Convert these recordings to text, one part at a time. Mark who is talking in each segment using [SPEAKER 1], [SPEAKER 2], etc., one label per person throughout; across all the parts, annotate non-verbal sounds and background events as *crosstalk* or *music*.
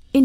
[SPEAKER 1] verscheen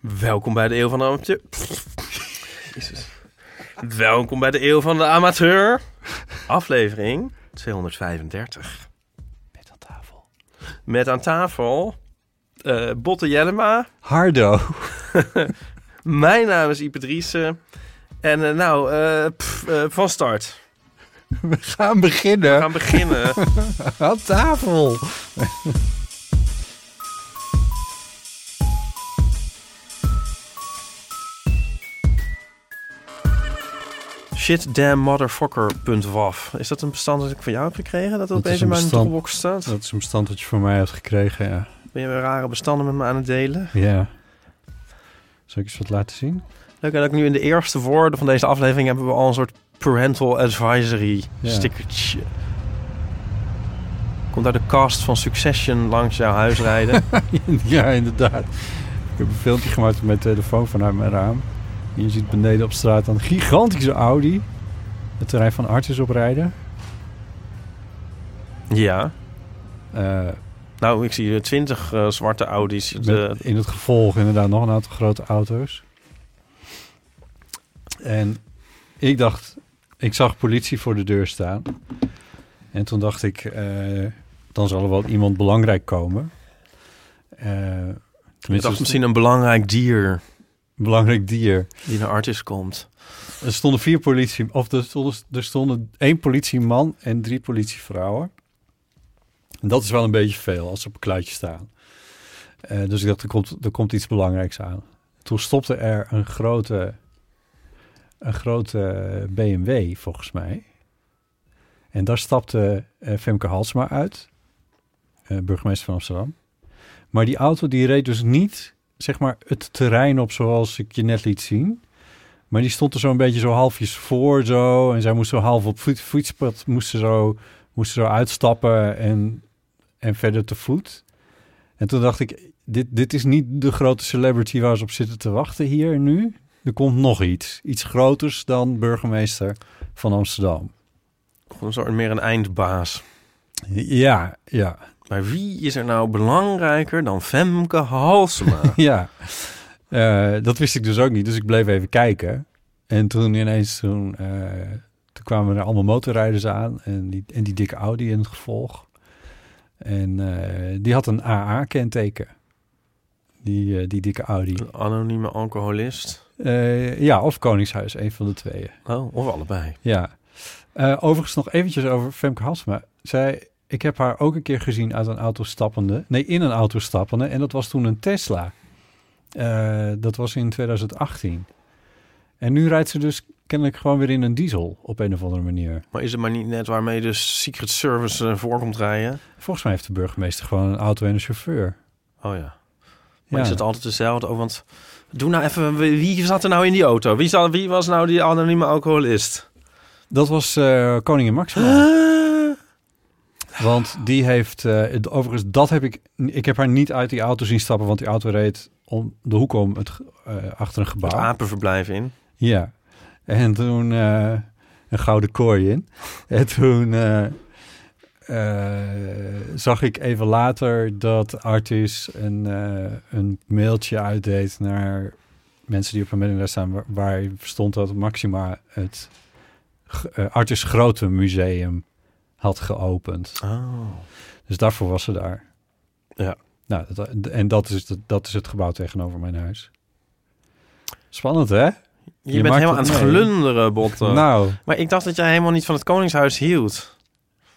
[SPEAKER 2] Welkom bij de Eeuw van de Amateur. *laughs* Jezus. Welkom bij de Eeuw van de Amateur. Aflevering 235. Met aan tafel. Met aan tafel eh, Botte Jellema.
[SPEAKER 3] Hardo. *laughs*
[SPEAKER 2] Mijn naam is Ipe Driessen. En eh, nou, eh, pff, eh, van start.
[SPEAKER 3] We gaan
[SPEAKER 2] We
[SPEAKER 3] beginnen
[SPEAKER 2] gaan *laughs* beginnen.
[SPEAKER 3] aan tafel.
[SPEAKER 2] Shitdammotherfucker.waf. Is dat een bestand dat ik van jou heb gekregen? Dat dat
[SPEAKER 3] Dat is
[SPEAKER 2] opeens in
[SPEAKER 3] een
[SPEAKER 2] mijn
[SPEAKER 3] bestand.
[SPEAKER 2] toolbox staat?
[SPEAKER 3] Dat is een bestand dat je voor mij hebt gekregen, ja.
[SPEAKER 2] Ben je weer rare bestanden met me aan het delen?
[SPEAKER 3] ja. Zal ik eens wat laten zien? *laughs*
[SPEAKER 2] Leuk en ook nu in de eerste woorden van deze aflevering hebben we al een soort parental advisory
[SPEAKER 3] Ja.
[SPEAKER 2] stickertje. Komt uit de cast van Succession langs jouw huis rijden.
[SPEAKER 3] ja, inderdaad. Ik heb een filmpje gemaakt met mijn telefoon vanuit mijn raam. En je ziet beneden op straat een gigantische Audi. Het terrein van Artis oprijden.
[SPEAKER 2] ja.
[SPEAKER 3] Eh
[SPEAKER 2] Nou, ik zie twintig eh, zwarte Audi's. De,
[SPEAKER 3] Met in het gevolg inderdaad nog een aantal grote auto's. En ik dacht, ik zag politie voor de deur staan. En toen dacht ik, eh, dan zal er wel iemand belangrijk komen. Eh,
[SPEAKER 2] ik
[SPEAKER 3] tenminste,
[SPEAKER 2] dacht misschien een belangrijk dier
[SPEAKER 3] een belangrijk dier.
[SPEAKER 2] die naar artist komt.
[SPEAKER 3] Er stonden vier politie, of er stonden, er stonden één politieman en drie politievrouwen. En dat is wel een beetje veel als ze op een kluitje staan. Eh, dus ik dacht, er komt, er komt iets belangrijks aan. Toen stopte er een grote, een grote BMW, volgens mij. En daar stapte eh, Femke Halsma uit, eh, burgemeester van Amsterdam. Maar die auto die reed dus niet, zeg maar, het terrein op zoals ik je net liet zien. Maar die stond er zo'n beetje zo halfjes voor zo. En zij moest zo half op voet, voetspad, moest ze zo, moest ze zo uitstappen en, en verder te voet. En toen dacht ik, dit, dit is niet de grote celebrity waar ze op zitten te wachten hier en nu. Er komt nog iets. Iets groters dan burgemeester van Amsterdam.
[SPEAKER 2] Gewoon een soort meer een eindbaas.
[SPEAKER 3] Ja, ja,
[SPEAKER 2] Maar wie is er nou belangrijker dan Femke Halsema?
[SPEAKER 3] *laughs* ja. Eh, dat wist ik dus ook niet, dus ik bleef even kijken. En toen ineens, toen, eh, toen kwamen er allemaal motorrijders aan en die, en die dikke Audi in het gevolg. En eh, die had een AA-kenteken, die, eh, die dikke Audi.
[SPEAKER 2] een anonieme alcoholist?
[SPEAKER 3] Eh, ja, of Koningshuis, een van de tweeën.
[SPEAKER 2] Oh, of allebei.
[SPEAKER 3] Ja. Eh, overigens nog eventjes over Femke Halsma. Zij, ik heb haar ook een keer gezien uit een auto stappende. Nee, in een auto stappende. En dat was toen een Tesla. Eh, dat was in 2018. En nu rijdt ze dus kennelijk gewoon weer in een diesel op een of andere manier.
[SPEAKER 2] Maar is het maar niet net waarmee de Secret Service eh, voor komt rijden?
[SPEAKER 3] Volgens mij heeft de burgemeester gewoon een auto en een chauffeur.
[SPEAKER 2] Oh ja. Maar
[SPEAKER 3] Ja.
[SPEAKER 2] is het altijd dezelfde? Ook, want doe nou even, wie wie zat er nou in die auto? Wie, zat, wie was nou die anonieme alcoholist?
[SPEAKER 3] Dat was eh, koningin Maxima. Want die heeft, eh, het- overigens, dat heb ik, ik heb haar niet uit die auto zien stappen, want die auto reed om de hoek om het, ge- eh, achter een gebouw.
[SPEAKER 2] Het apenverblijf in.
[SPEAKER 3] Ja. En toen eh, een gouden kooi in. En toen eh, eh, zag ik even later dat Artis een, eh, een mailtje uitdeed naar mensen die op een middengrijs staan, waar, waar stond dat Maxima het G- eh, Artis Grote Museum had geopend.
[SPEAKER 2] Oh.
[SPEAKER 3] Dus daarvoor was ze daar.
[SPEAKER 2] Ja.
[SPEAKER 3] Nou, dat, en dat is, het- dat is het gebouw tegenover mijn huis. Spannend, hè?
[SPEAKER 2] Je,
[SPEAKER 3] Je
[SPEAKER 2] bent
[SPEAKER 3] maakt
[SPEAKER 2] helemaal aan
[SPEAKER 3] het
[SPEAKER 2] het
[SPEAKER 3] mee.
[SPEAKER 2] glunderen, Botten.
[SPEAKER 3] Nou,
[SPEAKER 2] Maar ik dacht dat jij helemaal niet van het Koningshuis hield.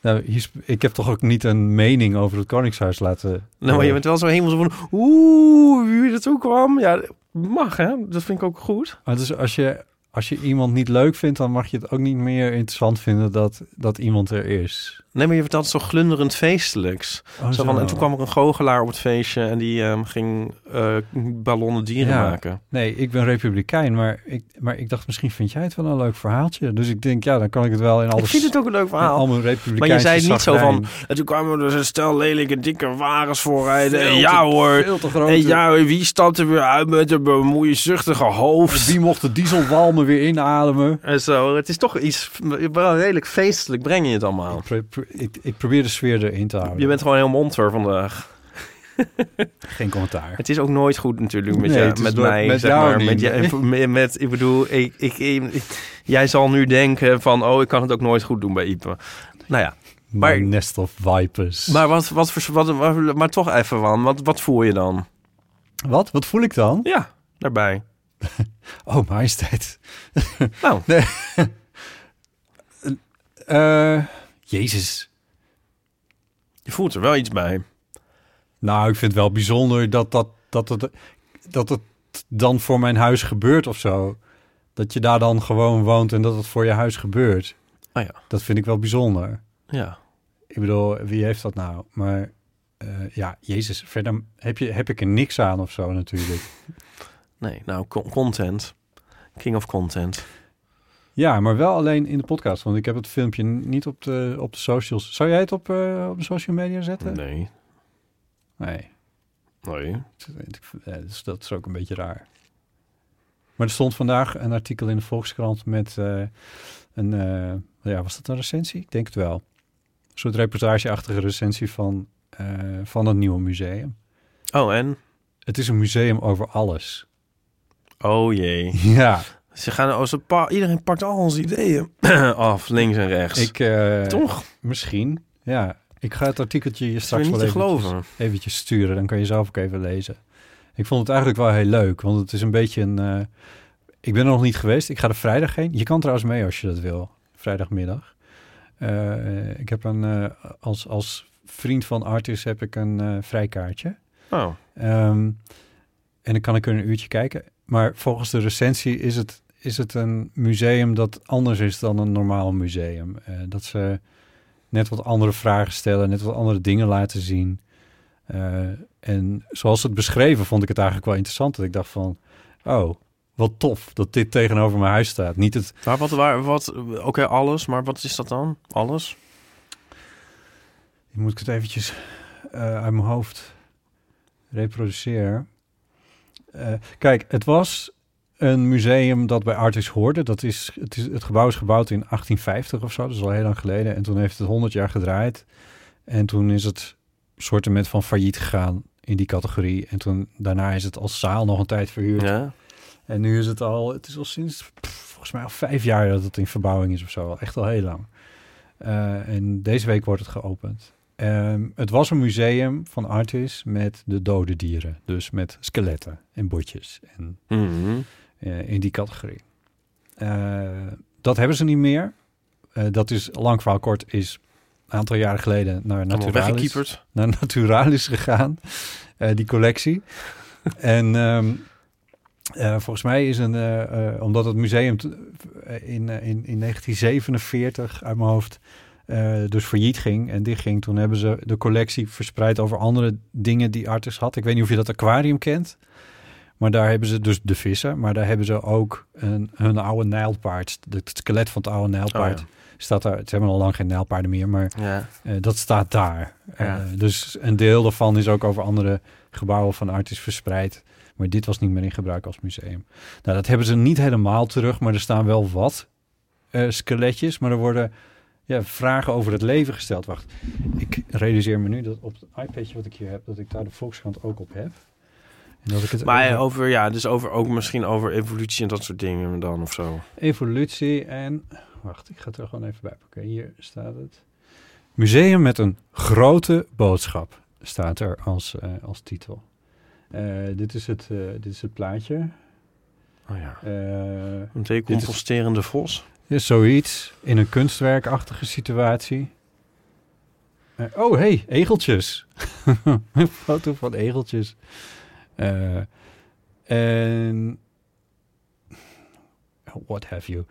[SPEAKER 3] nou hier is- ik heb toch ook niet een mening over het Koningshuis laten...
[SPEAKER 2] Nou, maar je bent wel zo hemels van... Oeh, wie er toe kwam. Ja, mag hè. Dat vind ik ook goed.
[SPEAKER 3] Maar dus als je, als je iemand niet leuk vindt, dan mag je het ook niet meer interessant vinden dat, dat iemand er is.
[SPEAKER 2] Nee, maar je vertelt het zo glunderend feestelijks.
[SPEAKER 3] Oh,
[SPEAKER 2] Oh, Zo van, en toen kwam er een goochelaar op het feestje en die ehm, ging eh, ballonnen dieren
[SPEAKER 3] Ja.
[SPEAKER 2] maken.
[SPEAKER 3] Nee, ik ben republikein, maar ik, maar ik dacht misschien vind jij het wel een leuk verhaaltje. Dus ik denk, ja, dan kan ik het wel in alles...
[SPEAKER 2] Ik vind het ook een leuk
[SPEAKER 3] in
[SPEAKER 2] verhaal.
[SPEAKER 3] al mijn republikeinse
[SPEAKER 2] Maar je zei het niet zo
[SPEAKER 3] zagrijn.
[SPEAKER 2] van... En toen kwamen er dus een stel lelijke dikke wagens voorrijden. En
[SPEAKER 3] Veel
[SPEAKER 2] ja
[SPEAKER 3] te-
[SPEAKER 2] hoor,
[SPEAKER 3] veel te groot.
[SPEAKER 2] en ja, hoor, wie stapt er weer uit met een bemoeizuchtige hoofd?
[SPEAKER 3] Wie mocht de dieselwalmen weer inademen?
[SPEAKER 2] En zo, het is toch iets... Wel redelijk feestelijk breng je het allemaal.
[SPEAKER 3] Ik, pro- pro- ik, ik probeer de sfeer erin te houden.
[SPEAKER 2] Oh. Je bent gewoon heel monter vandaag.
[SPEAKER 3] geen commentaar.
[SPEAKER 2] Het is ook nooit goed natuurlijk met,
[SPEAKER 3] Nee,
[SPEAKER 2] je-
[SPEAKER 3] het is
[SPEAKER 2] met
[SPEAKER 3] nooit-
[SPEAKER 2] mij.
[SPEAKER 3] met
[SPEAKER 2] zeg
[SPEAKER 3] jou
[SPEAKER 2] maar.
[SPEAKER 3] niet.
[SPEAKER 2] Met, jij- *laughs* met, met- ik bedoel, ik, ik, ik- jij zal nu denken van... Oh, ik kan het ook nooit goed doen bij Ipe. Nou ja,
[SPEAKER 3] Maar,
[SPEAKER 2] maar-
[SPEAKER 3] nest of vipers.
[SPEAKER 2] maar, wat, wat, voor- wat, wat- maar toch even, Wan. Wat, wat voel je dan?
[SPEAKER 3] wat? Wat voel ik dan?
[SPEAKER 2] Ja, daarbij.
[SPEAKER 3] Oh, majesteit.
[SPEAKER 2] Nou,
[SPEAKER 3] Eh, Jezus.
[SPEAKER 2] je voelt er wel iets bij.
[SPEAKER 3] Nou, ik vind het wel bijzonder dat, dat, dat, het, dat het dan voor mijn huis gebeurt of zo. Dat je daar dan gewoon woont en dat het voor je huis gebeurt.
[SPEAKER 2] Ah ja.
[SPEAKER 3] Dat vind ik wel bijzonder.
[SPEAKER 2] Ja.
[SPEAKER 3] Ik bedoel, wie heeft dat nou? Maar eh, ja, Jezus, verder heb, je, heb ik er niks aan of zo natuurlijk.
[SPEAKER 2] Nee, nou, con- content. King of content.
[SPEAKER 3] Ja, maar wel alleen in de podcast, want ik heb het filmpje niet op de, op de socials. Zou jij het op, eh, op de social media zetten?
[SPEAKER 2] Nee,
[SPEAKER 3] Nee.
[SPEAKER 2] nee.
[SPEAKER 3] Eh, Dus dat is ook een beetje raar. Maar er stond vandaag een artikel in de Volkskrant met eh, een... eh, ja, was dat een recensie? Ik denk het wel. Een soort reportageachtige recensie van, eh, van het nieuwe museum.
[SPEAKER 2] Oh, en?
[SPEAKER 3] Het is een museum over alles.
[SPEAKER 2] Oh jee.
[SPEAKER 3] Ja,
[SPEAKER 2] Ze gaan, oh, ze pa- iedereen pakt al onze ideeën *clears throat* af, links en rechts.
[SPEAKER 3] ik... eh,
[SPEAKER 2] Toch?
[SPEAKER 3] Misschien, ja. Ik ga het artikeltje je
[SPEAKER 2] Dat is
[SPEAKER 3] straks
[SPEAKER 2] weer niet
[SPEAKER 3] wel
[SPEAKER 2] te
[SPEAKER 3] eventjes-
[SPEAKER 2] geloven.
[SPEAKER 3] eventjes sturen. Dan kan je zelf ook even lezen. Ik vond het eigenlijk wel heel leuk, want het is een beetje een... eh, ik ben er nog niet geweest. Ik ga er vrijdag heen. Je kan trouwens mee als je dat wil. Vrijdagmiddag. Eh, ik heb een... eh, als, als vriend van Artis heb ik een eh, vrijkaartje.
[SPEAKER 2] Oh,
[SPEAKER 3] Ehm, en dan kan ik er een uurtje kijken. Maar volgens de recensie is het, is het een museum dat anders is dan een normaal museum. Eh, dat ze net wat andere vragen stellen, net wat andere dingen laten zien. Eh, en zoals ze het beschreven, vond ik het eigenlijk wel interessant. Dat ik dacht van, oh, wat tof dat dit tegenover mijn huis staat. Niet het,
[SPEAKER 2] maar wat, waar, wat, oké, alles, maar wat is dat dan? Alles?
[SPEAKER 3] moet ik het eventjes eh, uit mijn hoofd reproduceren. Eh, kijk, het was een museum dat bij Artis hoorde. Dat is, het, is, het gebouw is gebouwd in 1850 of zo, dat is al heel lang geleden. En toen heeft het 100 jaar gedraaid. En toen is het soortement van failliet gegaan in die categorie. En toen, daarna is het als zaal nog een tijd verhuurd.
[SPEAKER 2] Ja.
[SPEAKER 3] En nu is het al, het is al sinds pff, volgens mij al vijf jaar dat het in verbouwing is of zo. Al Echt al heel lang. Eh, en deze week wordt het geopend. Ehm, het was een museum van Artis met de dode dieren. Dus met skeletten en botjes en
[SPEAKER 2] Mhm.
[SPEAKER 3] eh, in die categorie. Eh, dat hebben ze niet meer. Eh, dat is, lang verhaal kort, is een aantal jaren geleden naar
[SPEAKER 2] Allemaal
[SPEAKER 3] Naturalis
[SPEAKER 2] weggekieperd.
[SPEAKER 3] naar *laughs* Naturalis gegaan, eh, die collectie. en ehm, eh, volgens mij is een, eh, eh, omdat het museum t- eh, in, eh, in, in 1947 uit mijn hoofd eh, dus failliet ging en dichtging, toen hebben ze de collectie verspreid over andere dingen die Artis had. Ik weet niet of je dat aquarium kent. Maar daar hebben ze dus de vissen, maar daar hebben ze ook een, hun oude nijlpaard. Het skelet van het oude nijlpaard
[SPEAKER 2] Oh
[SPEAKER 3] staat daar. Ze hebben al lang geen nijlpaarden meer, maar
[SPEAKER 2] Ja.
[SPEAKER 3] eh, dat staat daar.
[SPEAKER 2] Ja.
[SPEAKER 3] Eh, dus een deel daarvan is ook over andere gebouwen van Artis verspreid. Maar dit was niet meer in gebruik als museum. Nou, dat hebben ze niet helemaal terug, maar er staan wel wat eh, skeletjes. Maar er worden ja, vragen over het leven gesteld. Wacht, ik realiseer me nu dat op het iPadje wat ik hier heb, dat ik daar de Volkskrant ook op heb. En dat ik het
[SPEAKER 2] Maar eh,
[SPEAKER 3] over
[SPEAKER 2] over, ja, dus over, ook misschien over evolutie en dat soort dingen dan of zo.
[SPEAKER 3] evolutie en Wacht, ik ga het er gewoon even bij pakken. Hier staat het. Museum met een grote boodschap staat er als, eh, als titel. Eh, dit, is het, eh, dit is het plaatje.
[SPEAKER 2] Oh ja.
[SPEAKER 3] Eh,
[SPEAKER 2] Een decomposterende vos.
[SPEAKER 3] is zoiets in een kunstwerkachtige situatie. Eh, oh, hey, egeltjes. *laughs* een foto van egeltjes. Eh, En. what have you?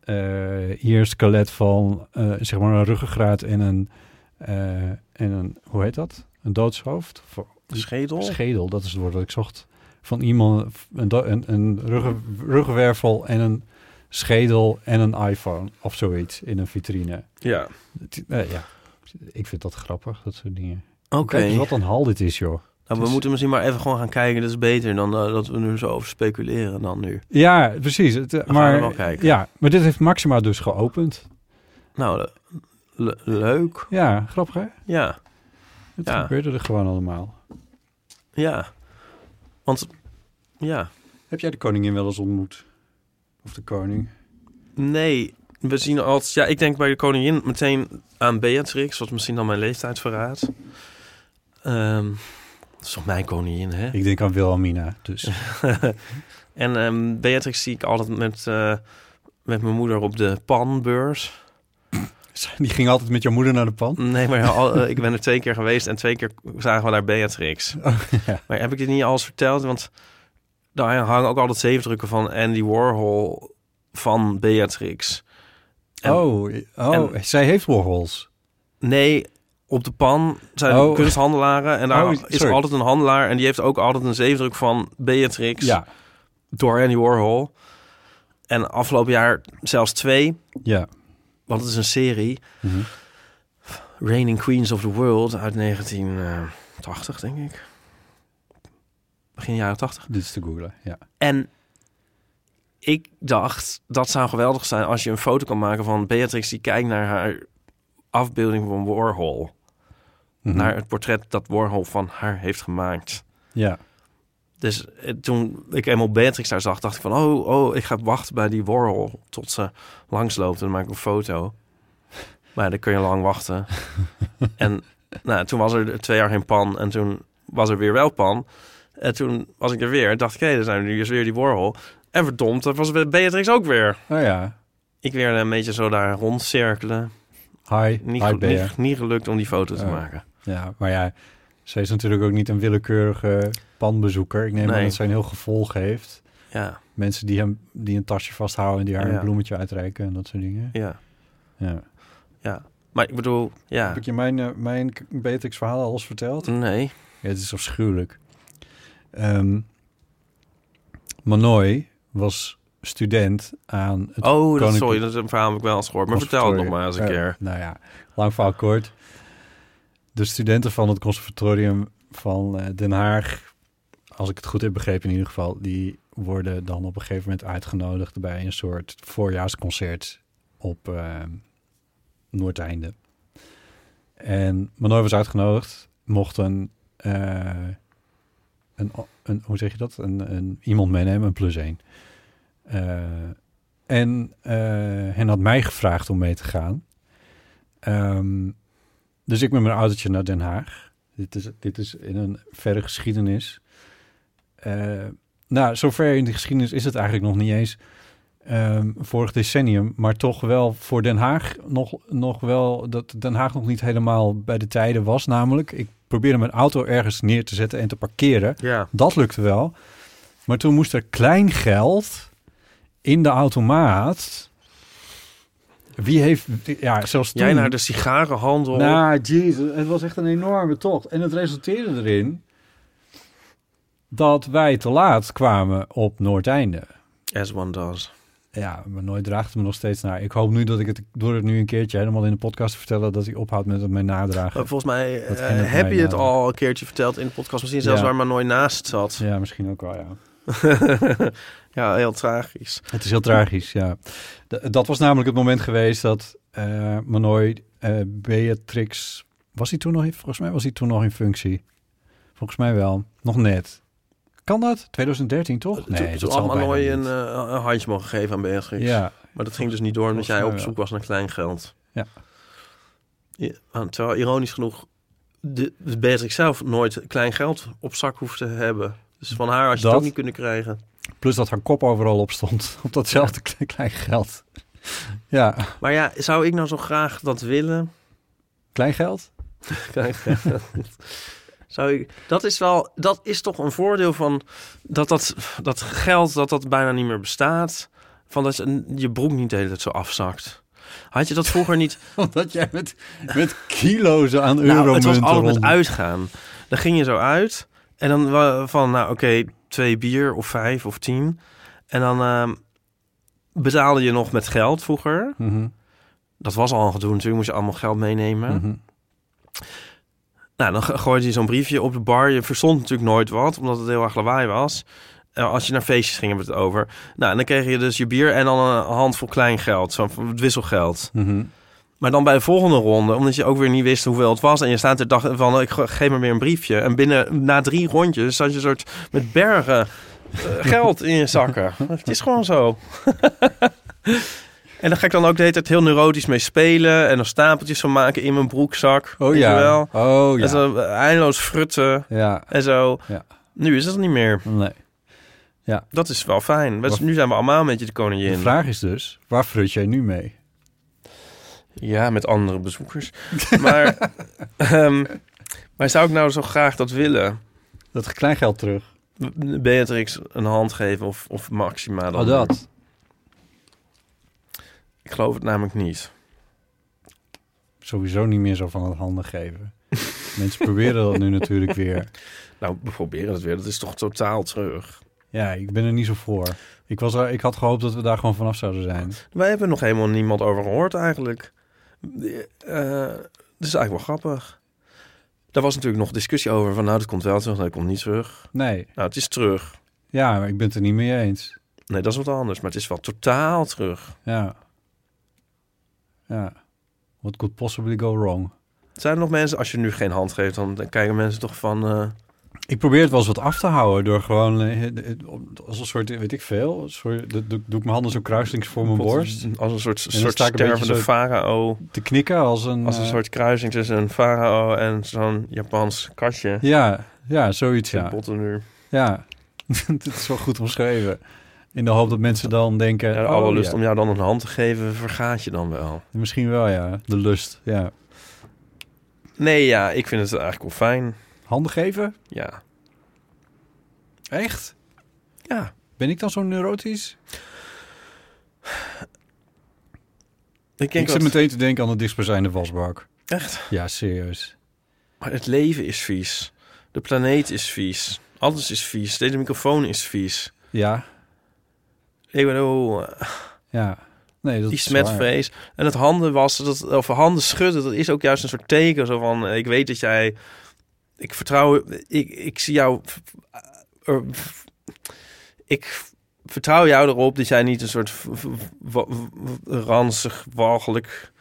[SPEAKER 3] Eh, hier een skelet van, eh, zeg maar, een ruggengraat en een, eh, en een. Hoe heet dat? Een doodshoofd? Of
[SPEAKER 2] Een schedel.
[SPEAKER 3] schedel, dat is het woord dat ik zocht. Van iemand, een, do- een, een ruggen, ruggenwervel en een schedel en een iPhone of zoiets in een vitrine.
[SPEAKER 2] ja.
[SPEAKER 3] Het- eh, ja, ik vind dat grappig, dat soort dingen.
[SPEAKER 2] Oké.
[SPEAKER 3] Kijk eens wat een hal dit is, joh.
[SPEAKER 2] Nou, we
[SPEAKER 3] Het is-
[SPEAKER 2] moeten misschien maar even gewoon gaan kijken. Dat is beter dan eh, dat we nu zo over speculeren dan nu.
[SPEAKER 3] Ja, precies. Het, eh,
[SPEAKER 2] gaan
[SPEAKER 3] maar,
[SPEAKER 2] er wel kijken.
[SPEAKER 3] Ja, maar dit heeft Maxima dus geopend.
[SPEAKER 2] Nou, le- le- leuk.
[SPEAKER 3] Ja, grappig hè?
[SPEAKER 2] Ja,
[SPEAKER 3] Het
[SPEAKER 2] Ja.
[SPEAKER 3] gebeurde er gewoon allemaal.
[SPEAKER 2] ja. Want, ja.
[SPEAKER 3] Heb jij de koningin wel eens ontmoet? Of de koning?
[SPEAKER 2] Nee, we zien altijd... Ja, ik denk bij de koningin meteen aan Beatrix. Wat misschien dan mijn leeftijd verraadt. Ehm, dat is toch mijn koningin, hè?
[SPEAKER 3] Ik denk aan Wilhelmina, *laughs* dus.
[SPEAKER 2] *laughs* en ehm, Beatrix zie ik altijd met, eh, met mijn moeder op de panbeurs.
[SPEAKER 3] Die ging altijd met jouw moeder naar de pan.
[SPEAKER 2] Nee, maar al- eh, ik ben er twee keer geweest en twee keer zagen we daar Beatrix.
[SPEAKER 3] *laughs* ja.
[SPEAKER 2] Maar heb ik dit niet alles verteld? Want daar hangen ook altijd zeefdrukken van Andy Warhol van Beatrix. En-
[SPEAKER 3] oh, oh zij heeft Warhols.
[SPEAKER 2] Nee, op de pan zijn
[SPEAKER 3] Oh.
[SPEAKER 2] kunsthandelaren. En daar
[SPEAKER 3] Oh,
[SPEAKER 2] is
[SPEAKER 3] sorry.
[SPEAKER 2] altijd een handelaar. En die heeft ook altijd een zeefdruk van Beatrix
[SPEAKER 3] Ja,
[SPEAKER 2] door Andy Warhol. En afgelopen jaar zelfs twee,
[SPEAKER 3] ja.
[SPEAKER 2] want het is een serie.
[SPEAKER 3] Mhm.
[SPEAKER 2] Reigning Queens of the World uit 1980, denk ik. Begin jaren 80.
[SPEAKER 3] Dit is te googlen, ja.
[SPEAKER 2] En ik dacht, dat zou geweldig zijn als je een foto kan maken van Beatrix die kijkt naar haar afbeelding van Warhol.
[SPEAKER 3] Mhm.
[SPEAKER 2] Naar het portret dat Warhol van haar heeft gemaakt.
[SPEAKER 3] Ja,
[SPEAKER 2] Dus eh, toen ik eenmaal Beatrix daar zag, dacht ik van... oh, oh, ik ga wachten bij die Warhol tot ze langsloopt en dan maak ik een foto. Maar ja, dan kun je lang
[SPEAKER 3] *laughs*
[SPEAKER 2] wachten. en nou, toen was er twee jaar geen pan en toen was er weer wel pan. En toen was ik er weer en dacht ik, hé, er zijn nu eens weer die Warhol. En verdomd, dat was Beatrix ook weer.
[SPEAKER 3] oh ja.
[SPEAKER 2] Ik weer een beetje zo daar rondcirkelen.
[SPEAKER 3] Hi,
[SPEAKER 2] Niet,
[SPEAKER 3] hi
[SPEAKER 2] gel-
[SPEAKER 3] Bea.
[SPEAKER 2] niet, niet gelukt om die foto te
[SPEAKER 3] Ja.
[SPEAKER 2] maken.
[SPEAKER 3] Ja, maar ja, zij is natuurlijk ook niet een willekeurige panbezoeker. Ik neem aan
[SPEAKER 2] Nee.
[SPEAKER 3] dat zij een heel gevolg heeft.
[SPEAKER 2] Ja,
[SPEAKER 3] Mensen die, hem, die een tasje vasthouden en die haar
[SPEAKER 2] Ja.
[SPEAKER 3] een bloemetje uitreiken en dat soort dingen.
[SPEAKER 2] ja,
[SPEAKER 3] Ja.
[SPEAKER 2] ja. Maar ik bedoel, ja,
[SPEAKER 3] Heb ik je mijn, eh, mijn k- Beatrix verhaal al eens verteld?
[SPEAKER 2] nee.
[SPEAKER 3] Ja, het is afschuwelijk. Ehm Manoy was student aan
[SPEAKER 2] Oh,
[SPEAKER 3] het
[SPEAKER 2] dat,
[SPEAKER 3] Koninklijk-
[SPEAKER 2] sorry, dat is een verhaal heb ik wel eens gehoord. Maar vertel het nog maar eens een
[SPEAKER 3] Conservatorium.
[SPEAKER 2] keer.
[SPEAKER 3] Eh, nou ja, lang verhaal kort. De studenten van het conservatorium van eh, Den Haag, als ik het goed heb begrepen in ieder geval, die worden dan op een gegeven moment uitgenodigd bij een soort voorjaarsconcert op eh, Noordeinde. En Manoy was uitgenodigd, mocht een, eh, een, een hoe zeg je dat, een, een, iemand meenemen, een plus één. Eh, en eh, hen had mij gevraagd om mee te gaan. Ehm, dus ik met mijn autootje naar Den Haag. Dit is, dit is in een verre geschiedenis. Eh, nou, zover in de geschiedenis is het eigenlijk nog niet eens. ehm, vorig decennium, maar toch wel voor Den Haag nog, nog wel dat Den Haag nog niet helemaal bij de tijden was. Namelijk, ik probeerde mijn auto ergens neer te zetten en te parkeren.
[SPEAKER 2] Ja.
[SPEAKER 3] Dat lukte wel. Maar toen moest er klein geld in de automaat. Wie heeft... Ja, zelfs toen...
[SPEAKER 2] Jij naar de sigarenhandel.
[SPEAKER 3] Nou, jezus. Het was echt een enorme tocht. En het resulteerde erin... dat wij te laat kwamen op Noordeinde.
[SPEAKER 2] As one does.
[SPEAKER 3] Ja, maar nooit draagt het me nog steeds naar. Ik hoop nu dat ik het... door het nu een keertje helemaal in de podcast te vertellen... dat hij ophoudt met het mij nadragen.
[SPEAKER 2] Maar volgens mij
[SPEAKER 3] Dat
[SPEAKER 2] eh,
[SPEAKER 3] ging het
[SPEAKER 2] heb
[SPEAKER 3] mij
[SPEAKER 2] je het
[SPEAKER 3] na.
[SPEAKER 2] al een keertje verteld in de podcast. Misschien zelfs
[SPEAKER 3] Ja.
[SPEAKER 2] waar maar nooit naast zat.
[SPEAKER 3] Ja, misschien ook wel, ja.
[SPEAKER 2] *laughs* ja, heel tragisch.
[SPEAKER 3] Het is heel tragisch, ja. D- dat was namelijk het moment geweest dat eh Manoy eh, Beatrix... Was hij toen nog in, volgens mij was hij toen nog in functie. Volgens mij wel. Nog net. Kan dat? 2013 toch?
[SPEAKER 2] Toen- toen
[SPEAKER 3] zal
[SPEAKER 2] had
[SPEAKER 3] bijna
[SPEAKER 2] Manoy een,
[SPEAKER 3] niet.
[SPEAKER 2] eh, een handje mogen geven aan Beatrix.
[SPEAKER 3] Ja,
[SPEAKER 2] Maar dat ging dus niet door omdat jij
[SPEAKER 3] Volgens
[SPEAKER 2] op
[SPEAKER 3] mij
[SPEAKER 2] zoek was naar kleingeld.
[SPEAKER 3] Ja.
[SPEAKER 2] Ja, ah, terwijl ironisch genoeg de, de Beatrix zelf nooit kleingeld op zak hoeft te hebben. Dus van haar had je
[SPEAKER 3] Dat-
[SPEAKER 2] het ook niet kunnen krijgen.
[SPEAKER 3] Plus dat haar kop overal op stond. *laughs* Op datzelfde kle- klein geld. Ja,
[SPEAKER 2] Maar ja, zou ik nou zo graag dat willen?
[SPEAKER 3] *laughs* klein geld? *laughs*
[SPEAKER 2] Kleingeld. zou ik, dat is wel, dat is toch een voordeel van dat, dat dat geld dat dat bijna niet meer bestaat. Van dat je, je broek niet de hele tijd zo afzakt. Had je dat vroeger
[SPEAKER 3] *laughs*
[SPEAKER 2] niet?
[SPEAKER 3] Omdat jij met, met kilo's aan
[SPEAKER 2] Nou, het was
[SPEAKER 3] euromunten
[SPEAKER 2] altijd met
[SPEAKER 3] rond-
[SPEAKER 2] uitgaan. Dan ging je zo uit. En dan wa- van, nou oké, twee bier of vijf of tien. En dan ehm, betaalde je nog met geld vroeger.
[SPEAKER 3] Mhm,
[SPEAKER 2] Dat was al een gedoe natuurlijk, moest je allemaal geld meenemen.
[SPEAKER 3] mhm.
[SPEAKER 2] Nou, dan ge- gooide je zo'n briefje op de bar. Je verstond natuurlijk nooit wat, omdat het heel erg lawaai was. Eh, als je naar feestjes ging, hebben we het over. Nou, en dan kreeg je dus je bier en dan een handvol kleingeld. Zo'n van het wisselgeld.
[SPEAKER 3] Mhm.
[SPEAKER 2] Maar dan bij de volgende ronde, omdat je ook weer niet wist hoeveel het was. En je staat er dacht van, ik ge- geef me weer een briefje. En binnen, na drie rondjes, zat je soort met bergen eh, geld in je zakken.
[SPEAKER 3] *laughs*
[SPEAKER 2] het is gewoon zo. *laughs* en dan ga ik dan ook de hele tijd heel neurotisch mee spelen. En dan stapeltjes van maken in mijn broekzak.
[SPEAKER 3] Oh
[SPEAKER 2] weet je
[SPEAKER 3] ja.
[SPEAKER 2] wel.
[SPEAKER 3] Oh
[SPEAKER 2] En
[SPEAKER 3] ja.
[SPEAKER 2] zo eh, eindeloos frutten
[SPEAKER 3] Ja,
[SPEAKER 2] en zo.
[SPEAKER 3] Ja.
[SPEAKER 2] Nu is dat niet meer.
[SPEAKER 3] nee.
[SPEAKER 2] Dat is wel fijn. We-
[SPEAKER 3] Wat-
[SPEAKER 2] Nu zijn we allemaal met je de
[SPEAKER 3] De
[SPEAKER 2] koningin.
[SPEAKER 3] vraag is dus, waar frut jij nu mee?
[SPEAKER 2] Ja, met andere bezoekers. *laughs* maar, ehm, maar zou ik nou zo graag dat willen?
[SPEAKER 3] Dat kleingeld terug.
[SPEAKER 2] Beatrix een hand geven of, of Maxima dan?
[SPEAKER 3] Oh, dat.
[SPEAKER 2] Ik geloof het namelijk niet.
[SPEAKER 3] Sowieso niet meer zo van het handen geven. Mensen proberen dat nu natuurlijk weer.
[SPEAKER 2] Nou, we proberen het weer. Dat is toch totaal terug.
[SPEAKER 3] Ja, ik ben er niet zo voor. Ik, was er, ik had gehoopt dat we daar gewoon vanaf zouden zijn.
[SPEAKER 2] Wij hebben nog helemaal niemand over gehoord eigenlijk. Eh, dat is eigenlijk wel grappig. Daar was natuurlijk nog discussie over van nou, dat komt wel terug, nou, dat komt niet terug.
[SPEAKER 3] Nee,
[SPEAKER 2] Nou, het is terug.
[SPEAKER 3] ja, maar ik ben het er niet mee eens.
[SPEAKER 2] Nee, dat is wat anders. Maar het is wel totaal terug.
[SPEAKER 3] Ja. Ja. What could possibly go wrong?
[SPEAKER 2] Zijn er nog mensen, als je nu geen hand geeft, dan dan kijken mensen toch van... eh,
[SPEAKER 3] Ik probeer het wel eens wat af te houden door gewoon eh, eh, eh, als een soort, eh, weet ik veel, een soort, doe, doe ik mijn handen zo kruisings voor mijn
[SPEAKER 2] pot-
[SPEAKER 3] borst.
[SPEAKER 2] Als een soort,
[SPEAKER 3] dan
[SPEAKER 2] soort
[SPEAKER 3] sta ik een beetje
[SPEAKER 2] stervende
[SPEAKER 3] zo-
[SPEAKER 2] farao.
[SPEAKER 3] Te knikken als een.
[SPEAKER 2] Als een
[SPEAKER 3] eh,
[SPEAKER 2] soort kruising tussen een farao en zo'n Japans katje.
[SPEAKER 3] Ja, ja, zoiets
[SPEAKER 2] Ja.
[SPEAKER 3] ja. Ja. *laughs* Het is wel goed omschreven. In de hoop dat mensen dan denken.
[SPEAKER 2] Ja, de
[SPEAKER 3] oh,
[SPEAKER 2] alle lust
[SPEAKER 3] ja,
[SPEAKER 2] om jou dan een hand te geven, vergaat je dan wel.
[SPEAKER 3] Misschien wel, ja. De lust. Ja.
[SPEAKER 2] Nee, ja, ik vind het eigenlijk wel fijn.
[SPEAKER 3] Handen geven?
[SPEAKER 2] Ja.
[SPEAKER 3] Echt?
[SPEAKER 2] Ja.
[SPEAKER 3] Ben ik dan zo neurotisch?
[SPEAKER 2] Ik
[SPEAKER 3] Ik
[SPEAKER 2] denk
[SPEAKER 3] zit
[SPEAKER 2] dat...
[SPEAKER 3] meteen te denken aan de dichtstbijzijnde wasbak.
[SPEAKER 2] Echt.
[SPEAKER 3] Ja, serieus.
[SPEAKER 2] Maar het leven is vies. De planeet is vies. Alles is vies. Deze microfoon is vies.
[SPEAKER 3] Ja,
[SPEAKER 2] Ik bedoel, eh,
[SPEAKER 3] ja. Nee, dat
[SPEAKER 2] die
[SPEAKER 3] is waar.
[SPEAKER 2] smetvrees. En het handen wassen, dat, of handen schudden, dat is ook juist een soort teken. Zo van, eh, ik weet dat jij... Ik vertrouw... Ik, ik zie jou... eh, ik vertrouw jou erop dat jij niet een soort v- v- wa- w- ranzig, walgelijk,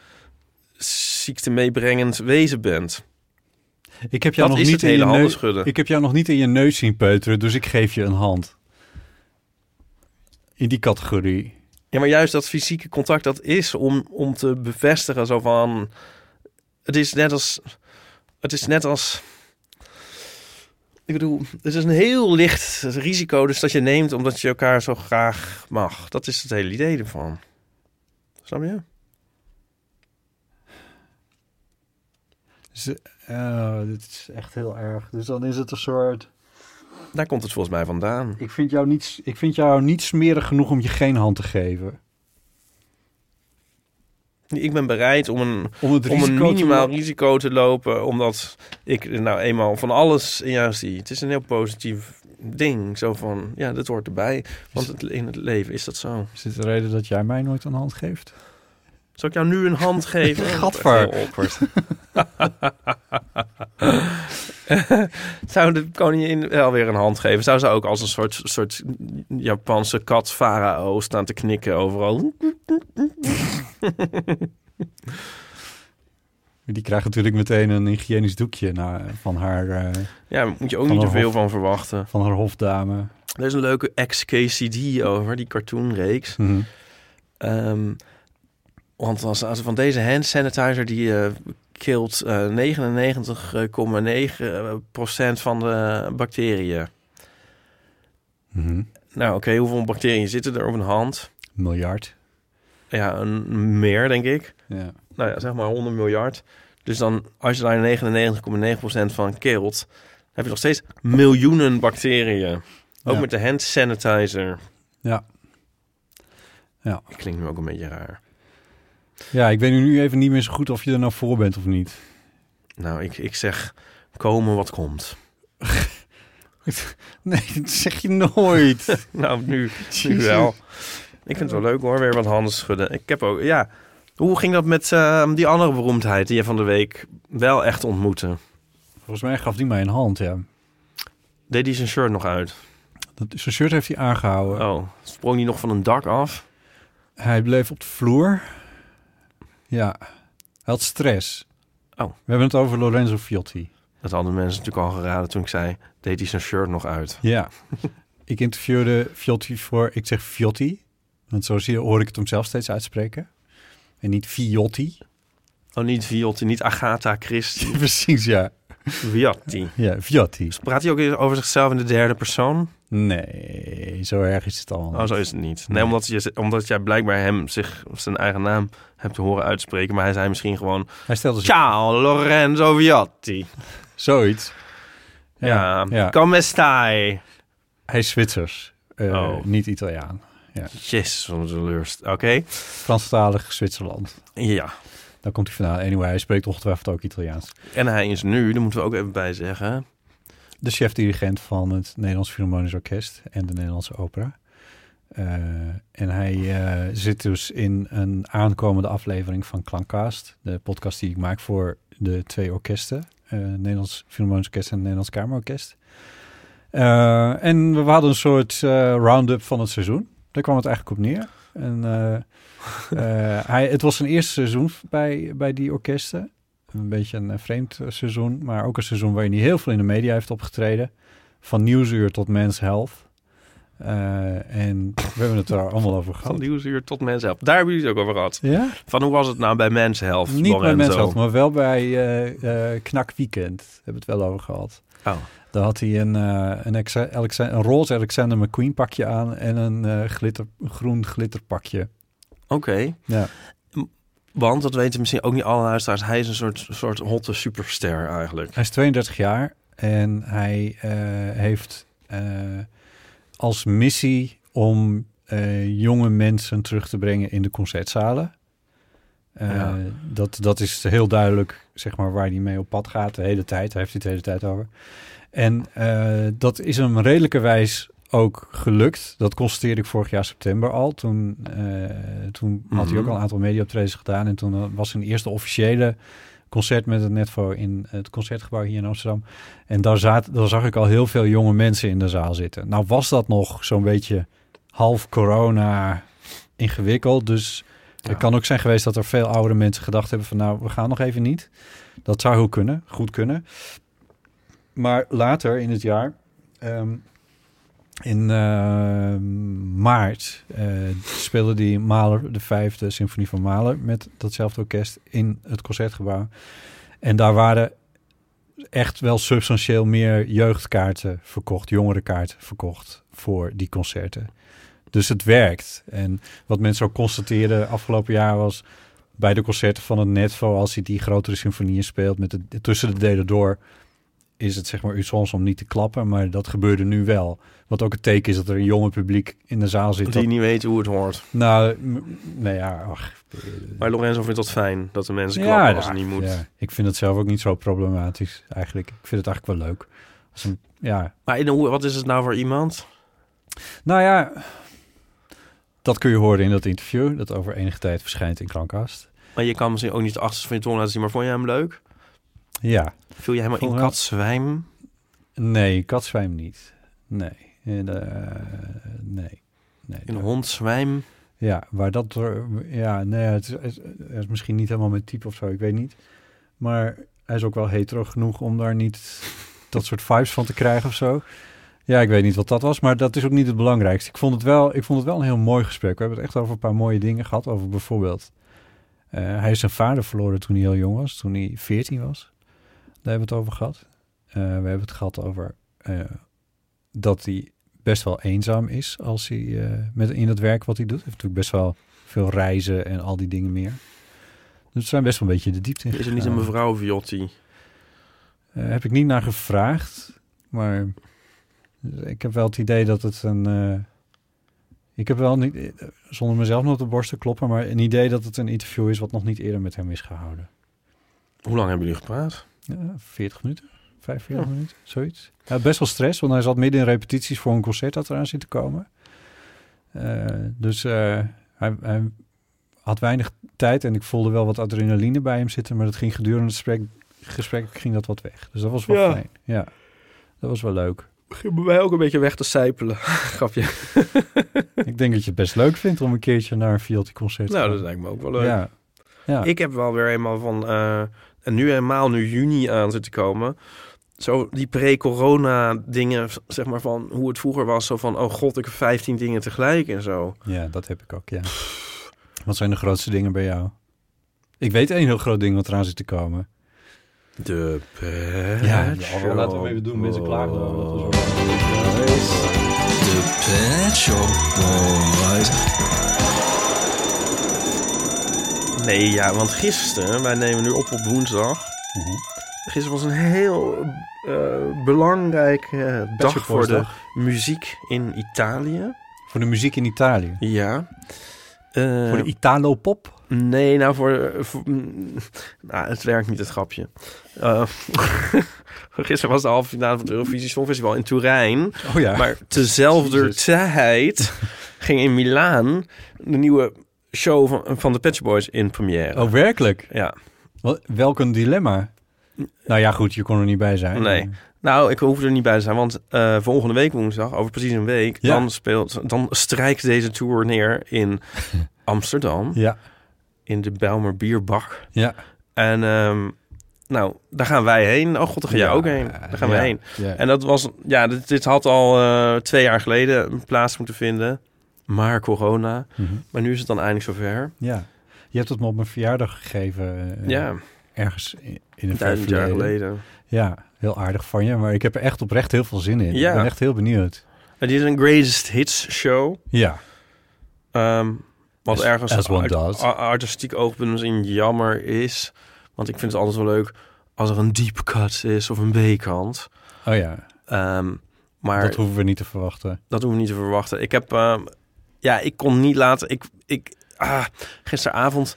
[SPEAKER 2] ziekte meebrengend wezen bent.
[SPEAKER 3] Ik heb jou
[SPEAKER 2] Dat
[SPEAKER 3] nog
[SPEAKER 2] is
[SPEAKER 3] niet
[SPEAKER 2] het
[SPEAKER 3] in
[SPEAKER 2] hele
[SPEAKER 3] je
[SPEAKER 2] handen
[SPEAKER 3] neus.
[SPEAKER 2] schudden.
[SPEAKER 3] Ik heb jou nog niet in je neus zien peuteren, dus ik geef je een hand. In die categorie.
[SPEAKER 2] Ja, maar juist dat fysieke contact, dat is om, om te bevestigen zo van... Het is net als... Het is net als... Ik bedoel, het is een heel licht risico dus dat je neemt omdat je elkaar zo graag mag. Dat is het hele idee ervan. Snap je?
[SPEAKER 3] Dus, eh, dit is echt heel erg. Dus dan is het een soort...
[SPEAKER 2] Daar komt het volgens mij vandaan.
[SPEAKER 3] Ik vind, jou niet, ik vind jou niet smerig genoeg om je geen hand te geven.
[SPEAKER 2] Ik ben bereid om een,
[SPEAKER 3] Om het
[SPEAKER 2] om een
[SPEAKER 3] risico te
[SPEAKER 2] minimaal
[SPEAKER 3] lo-
[SPEAKER 2] risico te lopen, omdat ik er nou eenmaal van alles in jou zie. Het is een heel positief ding. Zo van, ja, dat hoort erbij. Want het, in het leven is dat zo.
[SPEAKER 3] Is dit de reden dat jij mij nooit een hand geeft?
[SPEAKER 2] Zal ik jou nu een
[SPEAKER 3] *laughs*
[SPEAKER 2] hand geven?
[SPEAKER 3] Gadver.
[SPEAKER 2] Heel awkward. *laughs* Zou de koningin wel weer een hand geven? Zou ze ook als een soort, soort Japanse kat, farao, staan te knikken overal?
[SPEAKER 3] Die krijgt natuurlijk meteen een hygiënisch doekje na, van, haar, eh,
[SPEAKER 2] Ja, daar moet je ook
[SPEAKER 3] Van
[SPEAKER 2] niet te
[SPEAKER 3] een
[SPEAKER 2] veel
[SPEAKER 3] hof.
[SPEAKER 2] van verwachten.
[SPEAKER 3] van haar hofdame. Mhm.
[SPEAKER 2] Er is een leuke ex-KCD over, die cartoonreeks. Ehm, want als, als van deze hand sanitizer die eh kilt eh, 99,9% eh, procent van de bacteriën.
[SPEAKER 3] Mhm.
[SPEAKER 2] Nou oké, hoeveel bacteriën zitten er op een hand?
[SPEAKER 3] Miljard.
[SPEAKER 2] Ja, een, meer denk ik.
[SPEAKER 3] Ja.
[SPEAKER 2] nou ja, zeg maar 100 miljard. Dus dan, als je daar 99,9% van keelt, dan heb je nog steeds miljoenen bacteriën. Ook
[SPEAKER 3] Ja.
[SPEAKER 2] met de hand sanitizer.
[SPEAKER 3] Ja. Ja.
[SPEAKER 2] Klinkt nu ook een beetje raar.
[SPEAKER 3] ja, ik weet nu even niet meer zo goed of je er nou voor bent of niet.
[SPEAKER 2] Nou, ik, ik zeg, komen wat komt.
[SPEAKER 3] *laughs* Nee, dat zeg je
[SPEAKER 2] *laughs*
[SPEAKER 3] nooit.
[SPEAKER 2] Nou, nu, nu
[SPEAKER 3] Jezus.
[SPEAKER 2] wel. Ik vind het wel leuk hoor, weer wat handen schudden. Ik heb ook, ja. Hoe ging dat met eh, die andere beroemdheid die je van de week wel echt ontmoette?
[SPEAKER 3] Volgens mij gaf die mij een hand, ja.
[SPEAKER 2] Deed hij zijn shirt nog uit?
[SPEAKER 3] Dat, zijn shirt heeft hij aangehouden.
[SPEAKER 2] Oh, sprong hij nog van een dak af?
[SPEAKER 3] Hij bleef op de vloer. Ja. Hij had stress.
[SPEAKER 2] Oh.
[SPEAKER 3] We hebben het over Lorenzo Fiotti.
[SPEAKER 2] Dat hadden mensen natuurlijk al geraden toen ik zei, deed hij zijn shirt nog uit.
[SPEAKER 3] Ja. ik interviewde Fiotti voor... Ik zeg Fiotti. Want zo zie je, hoor ik het hem zelf steeds uitspreken. En niet Fiotti.
[SPEAKER 2] Oh, niet Viotti, niet Agatha Christie,
[SPEAKER 3] *laughs* Precies, ja.
[SPEAKER 2] Viotti. Dus
[SPEAKER 3] Ja, Fiotti.
[SPEAKER 2] Praat hij ook eens over zichzelf in de derde persoon?
[SPEAKER 3] Nee, zo erg is het allemaal.
[SPEAKER 2] Oh, zo is het niet. Nee,
[SPEAKER 3] Nee.
[SPEAKER 2] omdat, je, omdat jij blijkbaar hem zich zijn eigen naam hebt te horen uitspreken. Maar hij zei misschien gewoon...
[SPEAKER 3] Hij stelde zich
[SPEAKER 2] Ciao, Lorenzo Viotti.
[SPEAKER 3] zoiets.
[SPEAKER 2] Ja,
[SPEAKER 3] ja.
[SPEAKER 2] come stai.
[SPEAKER 3] Hij is Zwitsers, eh,
[SPEAKER 2] Oh.
[SPEAKER 3] niet Italiaan.
[SPEAKER 2] Jezus, wat een teleurst. Oké,
[SPEAKER 3] Franstalig Zwitserland.
[SPEAKER 2] ja.
[SPEAKER 3] Daar komt hij vandaan. Anyway, hij spreekt ongetwijfeld ook Italiaans.
[SPEAKER 2] En hij is nu, daar moeten we ook even bij zeggen...
[SPEAKER 3] De chef-dirigent van het Nederlands Philharmonisch Orkest en de Nederlandse Opera. Eh, en hij eh, zit dus in een aankomende aflevering van Klankcast. De podcast die ik maak voor de twee orkesten. eh, het Nederlands Philharmonisch Orkest en het Nederlands Kamerorkest. Eh, en we hadden een soort eh, round-up van het seizoen. Daar kwam het eigenlijk op neer. En, eh, *laughs* eh, hij, het was zijn eerste seizoen bij, bij die orkesten. Een beetje een eh, vreemd eh, seizoen, maar ook een seizoen waarin hij heel veel in de media heeft opgetreden. Van Nieuwsuur tot Men's Health. Eh, en we hebben het er allemaal over
[SPEAKER 2] Van
[SPEAKER 3] gehad.
[SPEAKER 2] nieuwsuur tot mensheld. Daar hebben jullie het ook over gehad.
[SPEAKER 3] Ja?
[SPEAKER 2] Van hoe was het nou bij mensheld,
[SPEAKER 3] Niet bij
[SPEAKER 2] Lorenzo?
[SPEAKER 3] Men's Health, maar wel bij eh, eh, Knak Weekend. Hebben we het wel over gehad.
[SPEAKER 2] Oh.
[SPEAKER 3] Daar had hij een, eh, een, Exa- Alexa- een roze Alexander McQueen pakje aan en een eh, glitter, groen glitterpakje.
[SPEAKER 2] Oké.
[SPEAKER 3] Ja.
[SPEAKER 2] Want, dat weten misschien ook niet alle luisteraars, hij is een soort, soort hotte superster eigenlijk.
[SPEAKER 3] Hij is 32 jaar en hij eh, heeft eh, als missie om eh, jonge mensen terug te brengen in de concertzalen. Eh,
[SPEAKER 2] Ja.
[SPEAKER 3] dat, dat is heel duidelijk zeg maar, waar hij mee op pad gaat de hele tijd. Hij heeft het de hele tijd over. En eh, dat is hem redelijkerwijs ook gelukt. Dat constateerde ik vorig jaar september al. Toen, eh, toen had hij
[SPEAKER 2] Mhm.
[SPEAKER 3] ook al een aantal mediaoptredens gedaan. En toen eh, was zijn eerste officiële concert met het Netvo in het Concertgebouw hier in Amsterdam. En daar, zat, daar zag ik al heel veel jonge mensen in de zaal zitten. Nou was dat nog zo'n beetje half corona ingewikkeld. Dus
[SPEAKER 2] Ja.
[SPEAKER 3] het kan ook zijn geweest dat er veel oudere mensen gedacht hebben van... nou, we gaan nog even niet. Dat zou heel kunnen, goed kunnen. Maar later in het jaar, ehm, in eh, maart, eh, speelde die Mahler, de vijfde symfonie van Mahler... met datzelfde orkest in het Concertgebouw. En daar waren echt wel substantieel meer jeugdkaarten verkocht, jongerenkaarten verkocht voor die concerten. Dus het werkt. En wat mensen ook constateerden afgelopen jaar was bij de concerten van het Netvo, als hij die grotere symfonieën speelt met de, tussen de delen door, is het zeg maar u soms om niet te klappen, maar dat gebeurde nu wel. Wat ook een teken is dat er een jonge publiek in de zaal zit.
[SPEAKER 2] Die
[SPEAKER 3] dat-
[SPEAKER 2] niet weten hoe het hoort.
[SPEAKER 3] nou, m- nou ja, ach.
[SPEAKER 2] Maar Lorenzo vindt dat fijn, dat de mensen
[SPEAKER 3] Ja,
[SPEAKER 2] klappen als
[SPEAKER 3] ja,
[SPEAKER 2] het niet moet.
[SPEAKER 3] ja. ik vind het zelf ook niet zo problematisch eigenlijk. Ik vind het eigenlijk wel leuk. Als een, ja,
[SPEAKER 2] Maar in, hoe- wat is het nou voor iemand?
[SPEAKER 3] Nou ja, dat kun je horen in dat interview. Dat over enige tijd verschijnt in Klankkast.
[SPEAKER 2] Maar je kan misschien ook niet de achterste van je tong laten zien, maar vond je hem leuk?
[SPEAKER 3] Ja.
[SPEAKER 2] Viel je helemaal
[SPEAKER 3] Vond
[SPEAKER 2] in
[SPEAKER 3] wel.
[SPEAKER 2] katzwijm?
[SPEAKER 3] Nee, katzwijm niet. Nee. En, eh, nee. nee.
[SPEAKER 2] In hondzwijm?
[SPEAKER 3] Ja, waar dat door... Ja, nee, het is, het is- het is misschien niet helemaal mijn type of zo. Ik weet niet. Maar hij is ook wel hetero genoeg om daar niet dat soort vibes van te krijgen of zo. Ja, ik weet niet wat dat was, maar dat is ook niet het belangrijkste. Ik vond het wel, ik vond het wel een heel mooi gesprek. We hebben het echt over een paar mooie dingen gehad. Over bijvoorbeeld, eh, hij is zijn vader verloren toen hij heel jong was, toen hij 14 was. Daar hebben we het over gehad. Eh, we hebben het gehad over eh, dat hij best wel eenzaam is als hij eh, met, in het werk wat hij doet. Hij heeft natuurlijk best wel veel reizen en al die dingen meer. Dus we zijn best wel een beetje de diepte
[SPEAKER 2] Is
[SPEAKER 3] in
[SPEAKER 2] er niet een
[SPEAKER 3] gegaan.
[SPEAKER 2] mevrouw Viotti?
[SPEAKER 3] Eh, heb ik niet naar gevraagd, maar ik heb wel het idee dat het een. eh, ik heb wel niet, eh, zonder mezelf nog op de borst te kloppen, maar een idee dat het een interview is wat nog niet eerder met hem is gehouden.
[SPEAKER 2] Hoe lang hebben jullie gepraat?
[SPEAKER 3] Ja, 40 minuten, 45 minuten, zoiets. Hij had best wel stress, want hij zat midden in repetities voor een concert dat eraan zit te komen. Eh, dus eh, hij, hij had weinig tijd en ik voelde wel wat adrenaline bij hem zitten, maar dat ging gedurende het gesprek, gesprek ging dat wat weg. Dus dat was wel
[SPEAKER 2] Ja.
[SPEAKER 3] fijn. Ja, dat was wel
[SPEAKER 2] *laughs*
[SPEAKER 3] leuk.
[SPEAKER 2] Begin bij mij ook een beetje weg te sijpelen. *laughs* Grapje.
[SPEAKER 3] ik denk dat je het best leuk vindt om een keertje naar een Fialty concert te
[SPEAKER 2] Nou,
[SPEAKER 3] gaan.
[SPEAKER 2] dat lijkt me ook wel leuk.
[SPEAKER 3] Ja. Ja.
[SPEAKER 2] Ik heb wel weer eenmaal van... eh, en nu helemaal nu juni aan zit te komen. Zo die pre-corona dingen, zeg maar van hoe het vroeger was. Zo van, oh god, ik heb 15 dingen tegelijk en zo.
[SPEAKER 3] ja, dat heb ik ook, ja. Wat zijn de grootste dingen bij jou? Ik weet één heel groot ding wat eraan zit te komen.
[SPEAKER 2] De pet
[SPEAKER 3] Ja, ja, laten we hem even doen. Mensen klagen erover dat we zo-
[SPEAKER 4] De Pet Shop Boys.
[SPEAKER 2] Nee, ja, want gisteren, wij nemen nu op op woensdag.
[SPEAKER 3] Mhm.
[SPEAKER 2] Gisteren was een heel eh, belangrijk eh, dag
[SPEAKER 3] Shop
[SPEAKER 2] voor
[SPEAKER 3] Boys
[SPEAKER 2] de
[SPEAKER 3] dag.
[SPEAKER 2] muziek in Italië.
[SPEAKER 3] Voor de muziek in Italië.
[SPEAKER 2] Ja. Eh,
[SPEAKER 3] Voor de Italo-pop.
[SPEAKER 2] Nee, nou voor... voor- mm, nou, het werkt niet, het grapje. Eh, *laughs* gisteren was de halve finale van het Eurovisie Songfestival in Turijn.
[SPEAKER 3] Oh ja.
[SPEAKER 2] Maar tezelfde
[SPEAKER 3] Jezus.
[SPEAKER 2] *laughs* tijd ging in Milaan de nieuwe show van, van de Pet Shop Boys in première.
[SPEAKER 3] Oh, werkelijk?
[SPEAKER 2] Ja.
[SPEAKER 3] Wel- Welk een dilemma. Nou ja, goed, je kon er niet bij zijn.
[SPEAKER 2] Nee. Nou, ik hoef er niet bij te zijn, want eh, volgende week woensdag, over precies een week,
[SPEAKER 3] Ja.
[SPEAKER 2] dan, speelt, dan strijkt deze tour neer
[SPEAKER 3] *laughs*
[SPEAKER 2] in Amsterdam,
[SPEAKER 3] Ja,
[SPEAKER 2] in de Bijlmer Bierbak.
[SPEAKER 3] ja.
[SPEAKER 2] En ehm, nou, daar gaan wij heen. Oh god, daar ga jij
[SPEAKER 3] Ja,
[SPEAKER 2] ook heen. Daar gaan
[SPEAKER 3] ja.
[SPEAKER 2] wij heen.
[SPEAKER 3] ja.
[SPEAKER 2] En dat was, ja, dit, dit had al eh, twee jaar geleden een plaats moeten vinden. Maar corona.
[SPEAKER 3] Mhm.
[SPEAKER 2] Maar nu is het dan eindelijk zover.
[SPEAKER 3] ja. Je hebt het me op mijn verjaardag gegeven. eh,
[SPEAKER 2] ja,
[SPEAKER 3] Ergens in, in een ver
[SPEAKER 2] duizend jaar
[SPEAKER 3] verleden.
[SPEAKER 2] geleden.
[SPEAKER 3] Ja, heel aardig van je. Maar ik heb er echt oprecht heel veel zin in.
[SPEAKER 2] Ja.
[SPEAKER 3] Ik ben echt heel benieuwd.
[SPEAKER 2] Het is een greatest hits show.
[SPEAKER 3] Ja.
[SPEAKER 2] Ehm, wat
[SPEAKER 3] As-
[SPEAKER 2] ergens
[SPEAKER 3] as one
[SPEAKER 2] uit-
[SPEAKER 3] does.
[SPEAKER 2] a- artistiek oogpunt misschien jammer is. Want ik vind het altijd wel leuk als er een deep cut is of een B-kant.
[SPEAKER 3] Oh ja,
[SPEAKER 2] Ehm, maar
[SPEAKER 3] dat
[SPEAKER 2] dat,
[SPEAKER 3] hoeven we niet te verwachten.
[SPEAKER 2] hoeven we niet te verwachten. Ik heb... ehm, ja, ik kon niet laten... Ik, ik, ah, gisteravond...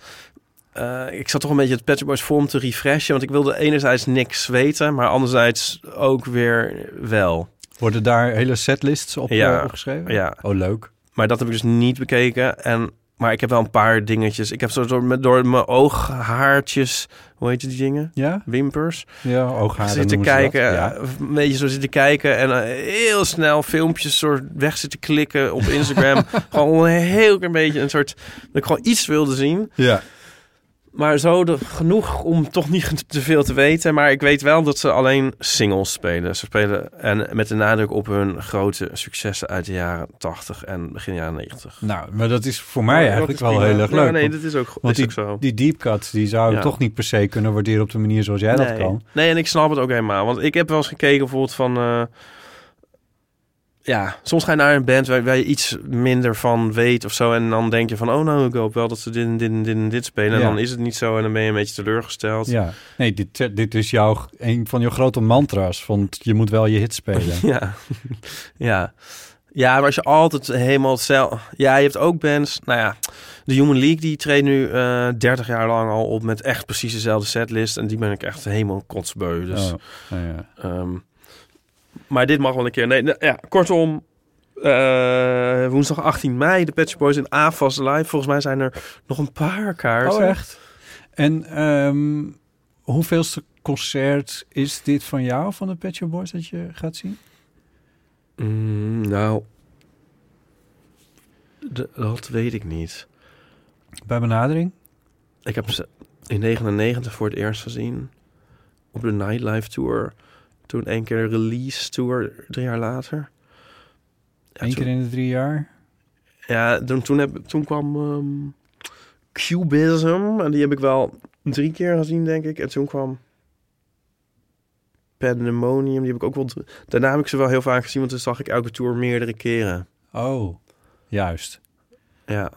[SPEAKER 2] eh, ik zat toch een beetje het Pet Shop Boys vorm te refreshen. Want ik wilde enerzijds niks weten. Maar anderzijds ook weer wel.
[SPEAKER 3] Worden daar hele setlists op
[SPEAKER 2] Ja.
[SPEAKER 3] eh, opgeschreven?
[SPEAKER 2] Ja.
[SPEAKER 3] Oh, leuk.
[SPEAKER 2] Maar dat heb ik dus niet bekeken. En, maar ik heb wel een paar dingetjes. Ik heb zo door, met- door mijn ooghaartjes, hoe heet die dingen?
[SPEAKER 3] Ja?
[SPEAKER 2] Wimpers.
[SPEAKER 3] Ja, oogharen
[SPEAKER 2] zitten
[SPEAKER 3] Ah, noemen ze dat.
[SPEAKER 2] kijken,
[SPEAKER 3] Ja.
[SPEAKER 2] eh, een beetje zo zitten kijken. En eh, heel snel filmpjes soort weg zitten klikken op
[SPEAKER 3] *laughs*
[SPEAKER 2] Instagram. gewoon een heel klein beetje een soort, dat ik gewoon iets wilde zien.
[SPEAKER 3] ja.
[SPEAKER 2] Maar zo de, genoeg om toch niet *laughs* te veel te weten. Maar ik weet wel dat ze alleen singles spelen. Ze spelen en met de nadruk op hun grote successen uit de jaren 80 en begin jaren 90.
[SPEAKER 3] Nou, maar dat is voor
[SPEAKER 2] Oh,
[SPEAKER 3] mij eigenlijk wel heel erg leuk.
[SPEAKER 2] Ja, nee,
[SPEAKER 3] want-
[SPEAKER 2] dat is ook,
[SPEAKER 3] want
[SPEAKER 2] is
[SPEAKER 3] die,
[SPEAKER 2] ook zo.
[SPEAKER 3] die deep cuts, die zou ik
[SPEAKER 2] Ja.
[SPEAKER 3] toch niet per se kunnen waarderen op de manier zoals jij dat
[SPEAKER 2] nee.
[SPEAKER 3] kan.
[SPEAKER 2] nee, en ik snap het ook helemaal. Want ik heb wel eens gekeken bijvoorbeeld van... eh, ja, soms ga je naar een band waar, waar je iets minder van weet of zo. En dan denk je van, oh nou, ik hoop wel dat ze dit en dit en dit en dit spelen. En
[SPEAKER 3] Ja.
[SPEAKER 2] dan is het niet zo en dan ben je een beetje teleurgesteld.
[SPEAKER 3] Ja. Nee, dit, dit is jouw, een van jouw grote mantra's. Van je moet wel je hit
[SPEAKER 2] *laughs*
[SPEAKER 3] spelen.
[SPEAKER 2] *laughs* Ja. ja. Ja, maar als je altijd helemaal hetzelfde... Ja, je hebt ook bands... Nou ja, de Human League die treedt nu eh 30 jaar lang al op met echt precies dezelfde setlist. En die ben ik echt helemaal kotsbeu. Dus,
[SPEAKER 3] Oh, nou ja.
[SPEAKER 2] ehm, maar dit mag wel een keer. Nee, nou, ja, kortom, eh, woensdag 18 mei, de Pet Shop Boys in AFAS Live. Volgens mij zijn er nog een paar kaarten.
[SPEAKER 3] Oh, echt? En ehm, hoeveelste concert is dit van jou, van de Pet Shop Boys, dat je gaat zien?
[SPEAKER 2] Mm, nou, de- dat weet ik niet.
[SPEAKER 3] Bij benadering?
[SPEAKER 2] Ik heb ze in 99 voor het eerst gezien. Op de Nightlife Tour. Toen één keer de Release Tour, drie jaar later.
[SPEAKER 3] Eén keer in de drie jaar.
[SPEAKER 2] Ja, toen, toen, heb, toen kwam ehm Cubism. En die heb ik wel drie keer gezien, denk ik. En toen kwam Pandemonium. Die heb ik ook wel... drie- Daarna heb ik ze wel heel vaak gezien, want toen zag ik elke tour meerdere keren.
[SPEAKER 3] Oh, juist.
[SPEAKER 2] Ja,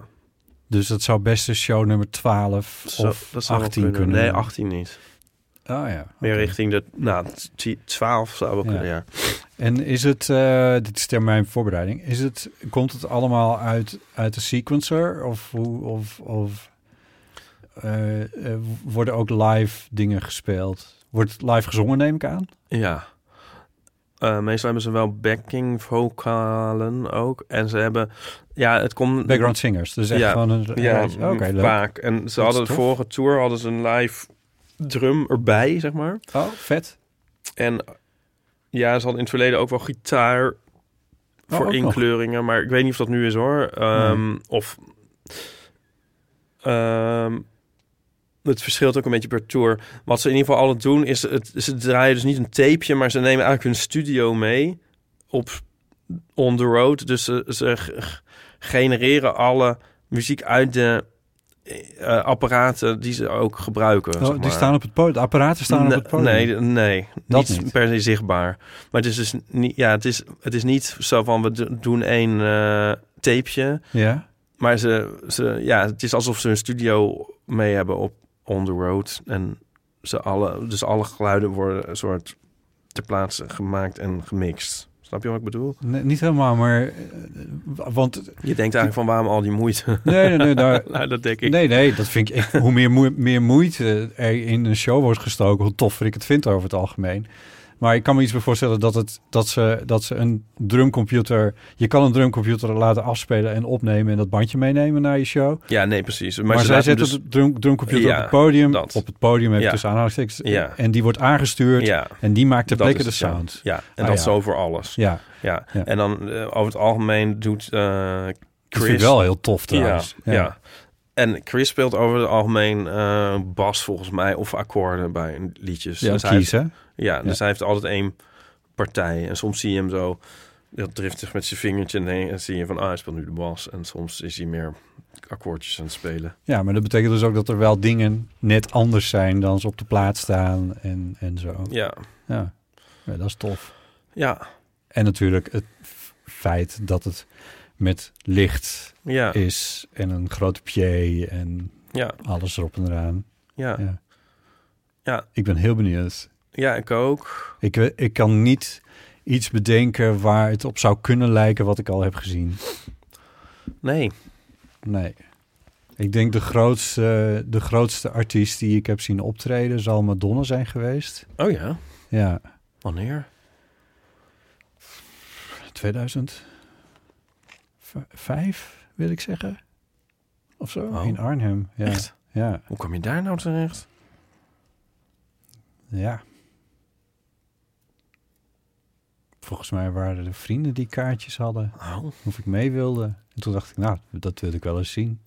[SPEAKER 3] Dus dat zou best de show nummer 12
[SPEAKER 2] zo-
[SPEAKER 3] of
[SPEAKER 2] Dus dat zou wel
[SPEAKER 3] 18 kunnen.
[SPEAKER 2] Nee,
[SPEAKER 3] doen.
[SPEAKER 2] 18 niet.
[SPEAKER 3] Ah ja.
[SPEAKER 2] Meer
[SPEAKER 3] oké.
[SPEAKER 2] richting de... Nou, t- t- 12 zou wel
[SPEAKER 3] Ja.
[SPEAKER 2] kunnen, ja.
[SPEAKER 3] En is het, eh, dit is ter mijn voorbereiding, is het, komt het allemaal uit, uit de sequencer? Of, hoe- of, of eh, eh, worden ook live dingen gespeeld? Wordt het live gezongen, neem ik aan?
[SPEAKER 2] Ja. Eh, meestal hebben ze wel backing vocalen ook. En ze hebben... Ja, het komt...
[SPEAKER 3] Background singers, dus echt
[SPEAKER 2] Ja.
[SPEAKER 3] gewoon een...
[SPEAKER 2] Ja,
[SPEAKER 3] een- Oké, leuk.
[SPEAKER 2] vaak. En ze
[SPEAKER 3] is
[SPEAKER 2] hadden de
[SPEAKER 3] tof.
[SPEAKER 2] vorige tour hadden ze een live drum erbij, zeg maar.
[SPEAKER 3] Oh, vet.
[SPEAKER 2] En ja, ze hadden in het verleden ook wel gitaar voor
[SPEAKER 3] Oh, ook Hmm. nog.
[SPEAKER 2] inkleuringen. Maar ik weet niet of dat nu is hoor. Ehm, Of... ehm, het verschilt ook een beetje per tour. Wat ze in ieder geval altijd doen, is... Het, ze draaien dus niet een tapeje, maar ze nemen eigenlijk hun studio mee op on the road. Dus ze, ze g- genereren alle muziek uit de eh, apparaten die ze ook gebruiken.
[SPEAKER 3] Oh,
[SPEAKER 2] zeg
[SPEAKER 3] die
[SPEAKER 2] maar.
[SPEAKER 3] staan op het podium, de apparaten staan op
[SPEAKER 2] Ne-
[SPEAKER 3] het podium.
[SPEAKER 2] Nee, d- nee.
[SPEAKER 3] Dat
[SPEAKER 2] niet,
[SPEAKER 3] niet.
[SPEAKER 2] per se zichtbaar. Maar het is dus niet, ja, het is, het is niet zo van we do- doen één eh tapeje.
[SPEAKER 3] Ja,
[SPEAKER 2] Maar ze, ze, ja, het is alsof ze een studio mee hebben op On The Road. En ze alle, dus alle geluiden worden een soort ter plaatse gemaakt en gemixt. Snap je wat ik bedoel?
[SPEAKER 3] nee, niet helemaal, maar... eh, w- want,
[SPEAKER 2] Je denkt eigenlijk van waarom al die moeite? *laughs*
[SPEAKER 3] nee, nee, nee, daar,
[SPEAKER 2] nou, dat denk ik.
[SPEAKER 3] Nee, nee, dat vind ik. echt- hoe meer, moe- meer moeite er in een show wordt gestoken, hoe toffer ik het vind over het algemeen. Maar ik kan me iets bij voorstellen dat, het, dat, ze, dat ze een drumcomputer. Je kan een drumcomputer laten afspelen en opnemen en dat bandje meenemen naar je show. Maar,
[SPEAKER 2] Ja, nee, precies. Maar, ze
[SPEAKER 3] zij
[SPEAKER 2] laten
[SPEAKER 3] zetten
[SPEAKER 2] dus,
[SPEAKER 3] de drum, drumcomputer
[SPEAKER 2] Ja,
[SPEAKER 3] op het podium.
[SPEAKER 2] dat.
[SPEAKER 3] Op het podium heb je
[SPEAKER 2] Ja.
[SPEAKER 3] dus aanhalingstekens.
[SPEAKER 2] Ja.
[SPEAKER 3] En die wordt aangestuurd
[SPEAKER 2] Ja,
[SPEAKER 3] en die maakt ter
[SPEAKER 2] dat
[SPEAKER 3] plekke
[SPEAKER 2] is
[SPEAKER 3] de
[SPEAKER 2] het, ja.
[SPEAKER 3] sound.
[SPEAKER 2] Ja, en
[SPEAKER 3] Ah,
[SPEAKER 2] dat
[SPEAKER 3] ja.
[SPEAKER 2] is zo voor alles.
[SPEAKER 3] Ja,
[SPEAKER 2] Ja.
[SPEAKER 3] Ja.
[SPEAKER 2] en dan eh, over het algemeen doet eh
[SPEAKER 3] dat vind ik
[SPEAKER 2] Chris...
[SPEAKER 3] wel heel tof
[SPEAKER 2] ja,
[SPEAKER 3] trouwens.
[SPEAKER 2] ja. En Chris speelt over het algemeen eh, bas volgens mij of akkoorden bij liedjes.
[SPEAKER 3] Ja,
[SPEAKER 2] dus hij heeft,
[SPEAKER 3] kiezen.
[SPEAKER 2] ja, dus hij heeft altijd één partij. En soms zie je hem zo heel driftig met zijn vingertje heen. En zie je van, ah, hij speelt nu de bas. En soms is hij meer akkoordjes aan het spelen.
[SPEAKER 3] Ja, maar dat betekent dus ook dat er wel dingen net anders zijn dan ze op de plaat staan en, en zo.
[SPEAKER 2] Ja,
[SPEAKER 3] Ja. ja, dat is tof.
[SPEAKER 2] ja,
[SPEAKER 3] En natuurlijk het f- feit dat het met licht
[SPEAKER 2] ja,
[SPEAKER 3] is en een groot pied en
[SPEAKER 2] ja,
[SPEAKER 3] alles erop en eraan.
[SPEAKER 2] ja.
[SPEAKER 3] Ja.
[SPEAKER 2] Ja.
[SPEAKER 3] Ik ben heel benieuwd.
[SPEAKER 2] Ja, ik ook.
[SPEAKER 3] Ik, we- ik kan niet iets bedenken waar het op zou kunnen lijken wat ik al heb gezien.
[SPEAKER 2] Nee.
[SPEAKER 3] Nee. Ik denk de grootste, de grootste artiest die ik heb zien optreden zal Madonna zijn geweest.
[SPEAKER 2] Oh ja,
[SPEAKER 3] Ja.
[SPEAKER 2] wanneer?
[SPEAKER 3] 2005, wil ik zeggen. Of zo,
[SPEAKER 2] Oh.
[SPEAKER 3] in Arnhem. Ja.
[SPEAKER 2] Echt?
[SPEAKER 3] Ja,
[SPEAKER 2] Hoe kwam je daar nou terecht?
[SPEAKER 3] ja. Volgens mij waren er vrienden die kaartjes hadden.
[SPEAKER 2] Oh,
[SPEAKER 3] Of ik mee wilde. En toen dacht ik, nou, dat wil ik wel eens zien.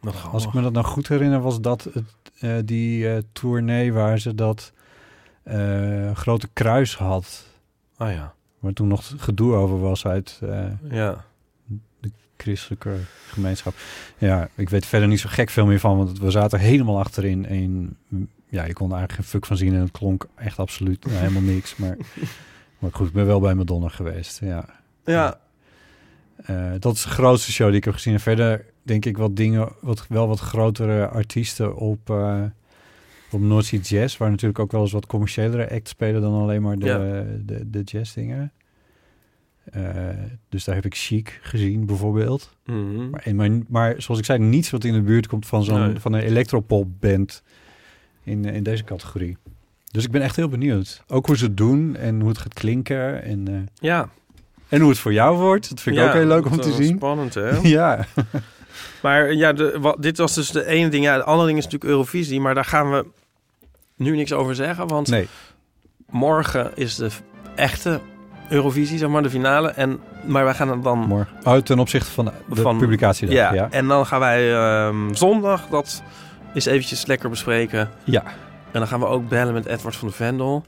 [SPEAKER 2] wat
[SPEAKER 3] Als ik
[SPEAKER 2] grappig.
[SPEAKER 3] me dat nou goed herinner, was dat het, eh, die eh, tournee waar ze dat eh, grote kruis had.
[SPEAKER 2] Ah ja,
[SPEAKER 3] Waar toen nog gedoe over was uit... eh,
[SPEAKER 2] ja.
[SPEAKER 3] christelijke gemeenschap. Ja, ik weet verder niet zo gek veel meer van, want we zaten helemaal achterin. En ja, je kon er eigenlijk geen fuck van zien en het klonk echt absoluut nou, helemaal niks. Maar, maar goed, ik ben wel bij Madonna geweest. Ja.
[SPEAKER 2] Ja,
[SPEAKER 3] Eh, dat is de grootste show die ik heb gezien. En verder denk ik wat dingen, wat, wel wat grotere artiesten op, eh op North Sea Jazz, waar natuurlijk ook wel eens wat commerciëlere acts spelen dan alleen maar de,
[SPEAKER 2] Ja.
[SPEAKER 3] de, de jazz dingen. dus daar heb ik Chic gezien bijvoorbeeld.
[SPEAKER 2] Mhm.
[SPEAKER 3] Maar, en- maar, maar zoals ik zei, niets wat in de buurt komt van zo'n
[SPEAKER 2] Nee.
[SPEAKER 3] van een electropop band in, eh, in deze categorie. Dus ik ben echt heel benieuwd. Ook hoe ze het doen en hoe het gaat klinken en, eh,
[SPEAKER 2] ja.
[SPEAKER 3] en hoe het voor jou wordt. Dat vind ik
[SPEAKER 2] Ja,
[SPEAKER 3] ook heel leuk om
[SPEAKER 2] dat
[SPEAKER 3] te
[SPEAKER 2] was
[SPEAKER 3] zien.
[SPEAKER 2] Spannend, hè?
[SPEAKER 3] *laughs* Ja,
[SPEAKER 2] maar ja, de, wat, dit was dus de ene ding. Ja, de andere ding is natuurlijk Eurovisie, maar daar gaan we nu niks over zeggen, want
[SPEAKER 3] nee.
[SPEAKER 2] morgen is de f- echte Eurovisie, zeg maar, de finale. En, maar wij gaan het dan...
[SPEAKER 3] Morgen. Oh, ten opzichte van de
[SPEAKER 2] Van-
[SPEAKER 3] publicatie.
[SPEAKER 2] Ja,
[SPEAKER 3] ja.
[SPEAKER 2] en dan gaan wij ehm, zondag dat eens eventjes lekker bespreken.
[SPEAKER 3] Ja.
[SPEAKER 2] En dan gaan we ook bellen met Edward van de Vendel.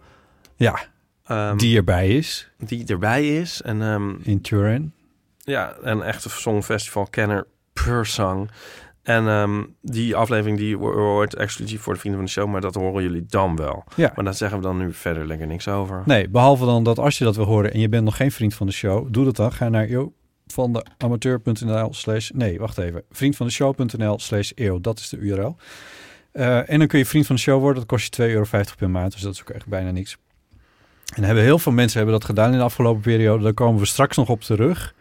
[SPEAKER 3] Ja,
[SPEAKER 2] ehm,
[SPEAKER 3] die erbij is
[SPEAKER 2] die erbij is. En ehm,
[SPEAKER 3] in Turin.
[SPEAKER 2] Ja, en echte songfestivalkenner per song. En ehm, die aflevering die wo- wordt exclusief voor de vrienden van de show, maar dat horen jullie dan wel.
[SPEAKER 3] Ja.
[SPEAKER 2] Maar daar zeggen we dan nu verder lekker niks over.
[SPEAKER 3] Nee, behalve dan dat als je dat wil horen en je bent nog geen vriend van de show, doe dat dan. Ga naar eeuw van de amateur.nl slash... Nee, wacht even. Vriend van de show.nl slash eeuw. Dat is de URL. Eh, en dan kun je vriend van de show worden. Dat kost je 2,50 euro per maand. Dus dat is ook echt bijna niks. En hebben heel veel mensen hebben dat gedaan in de afgelopen periode. Daar komen we straks nog op terug.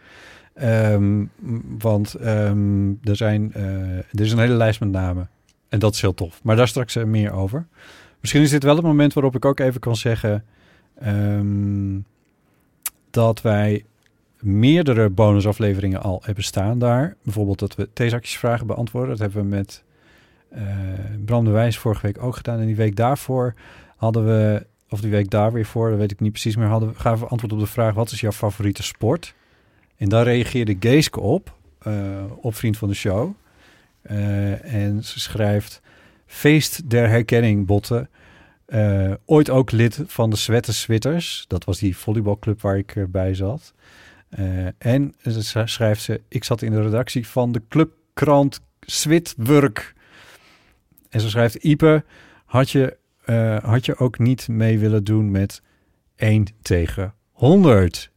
[SPEAKER 3] Ehm, m- want ehm, er, zijn, eh, er is een hele lijst met namen. En dat is heel tof. Maar daar straks eh, meer over. Misschien is dit wel het moment waarop ik ook even kan zeggen... Ehm, dat wij meerdere bonusafleveringen al hebben staan daar. Bijvoorbeeld dat we theezakjesvragen beantwoorden. Dat hebben we met eh, Bram de Wijs vorige week ook gedaan. En die week daarvoor hadden we, of die week daar weer voor, dat weet ik niet precies meer, hadden we, gaven we antwoord op de vraag: wat is jouw favoriete sport? En daar reageerde Geeske op, eh, op Vriend van de Show. Eh, en ze schrijft: Feest der herkenning, botten. Eh, ooit ook lid van de Zwette Switters. Dat was die volleybalclub waar ik eh, bij zat. Eh, en ze sch- schrijft ze, ik zat in de redactie van de clubkrant Switwerk. En ze schrijft, Ipe, had je, eh, had je ook niet mee willen doen met 1 tegen 100?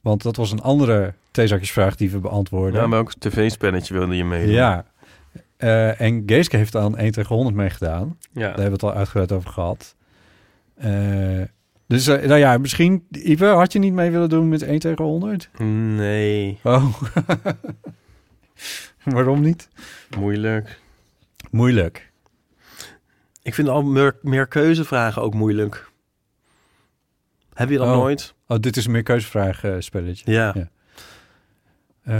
[SPEAKER 3] Want dat was een andere theezakjesvraag die we beantwoorden.
[SPEAKER 2] Ja, Nou, maar ook een tv-spelletje wilde je meedoen.
[SPEAKER 3] Ja. Eh, en Geeske heeft aan 1 tegen 100 meegedaan.
[SPEAKER 2] Ja.
[SPEAKER 3] Daar hebben we het al uitgebreid over gehad. Eh, dus eh, nou ja, misschien, Ipe, had je niet mee willen doen met 1 tegen 100?
[SPEAKER 2] Nee,
[SPEAKER 3] Oh. *laughs* Waarom niet?
[SPEAKER 2] moeilijk.
[SPEAKER 3] Moeilijk.
[SPEAKER 2] Ik vind al meer, meer keuzevragen ook moeilijk. Heb je dat
[SPEAKER 3] Oh.
[SPEAKER 2] nooit?
[SPEAKER 3] Oh, dit is een meer keuzevraag eh, spelletje.
[SPEAKER 2] Ja.
[SPEAKER 3] Ja. Eh,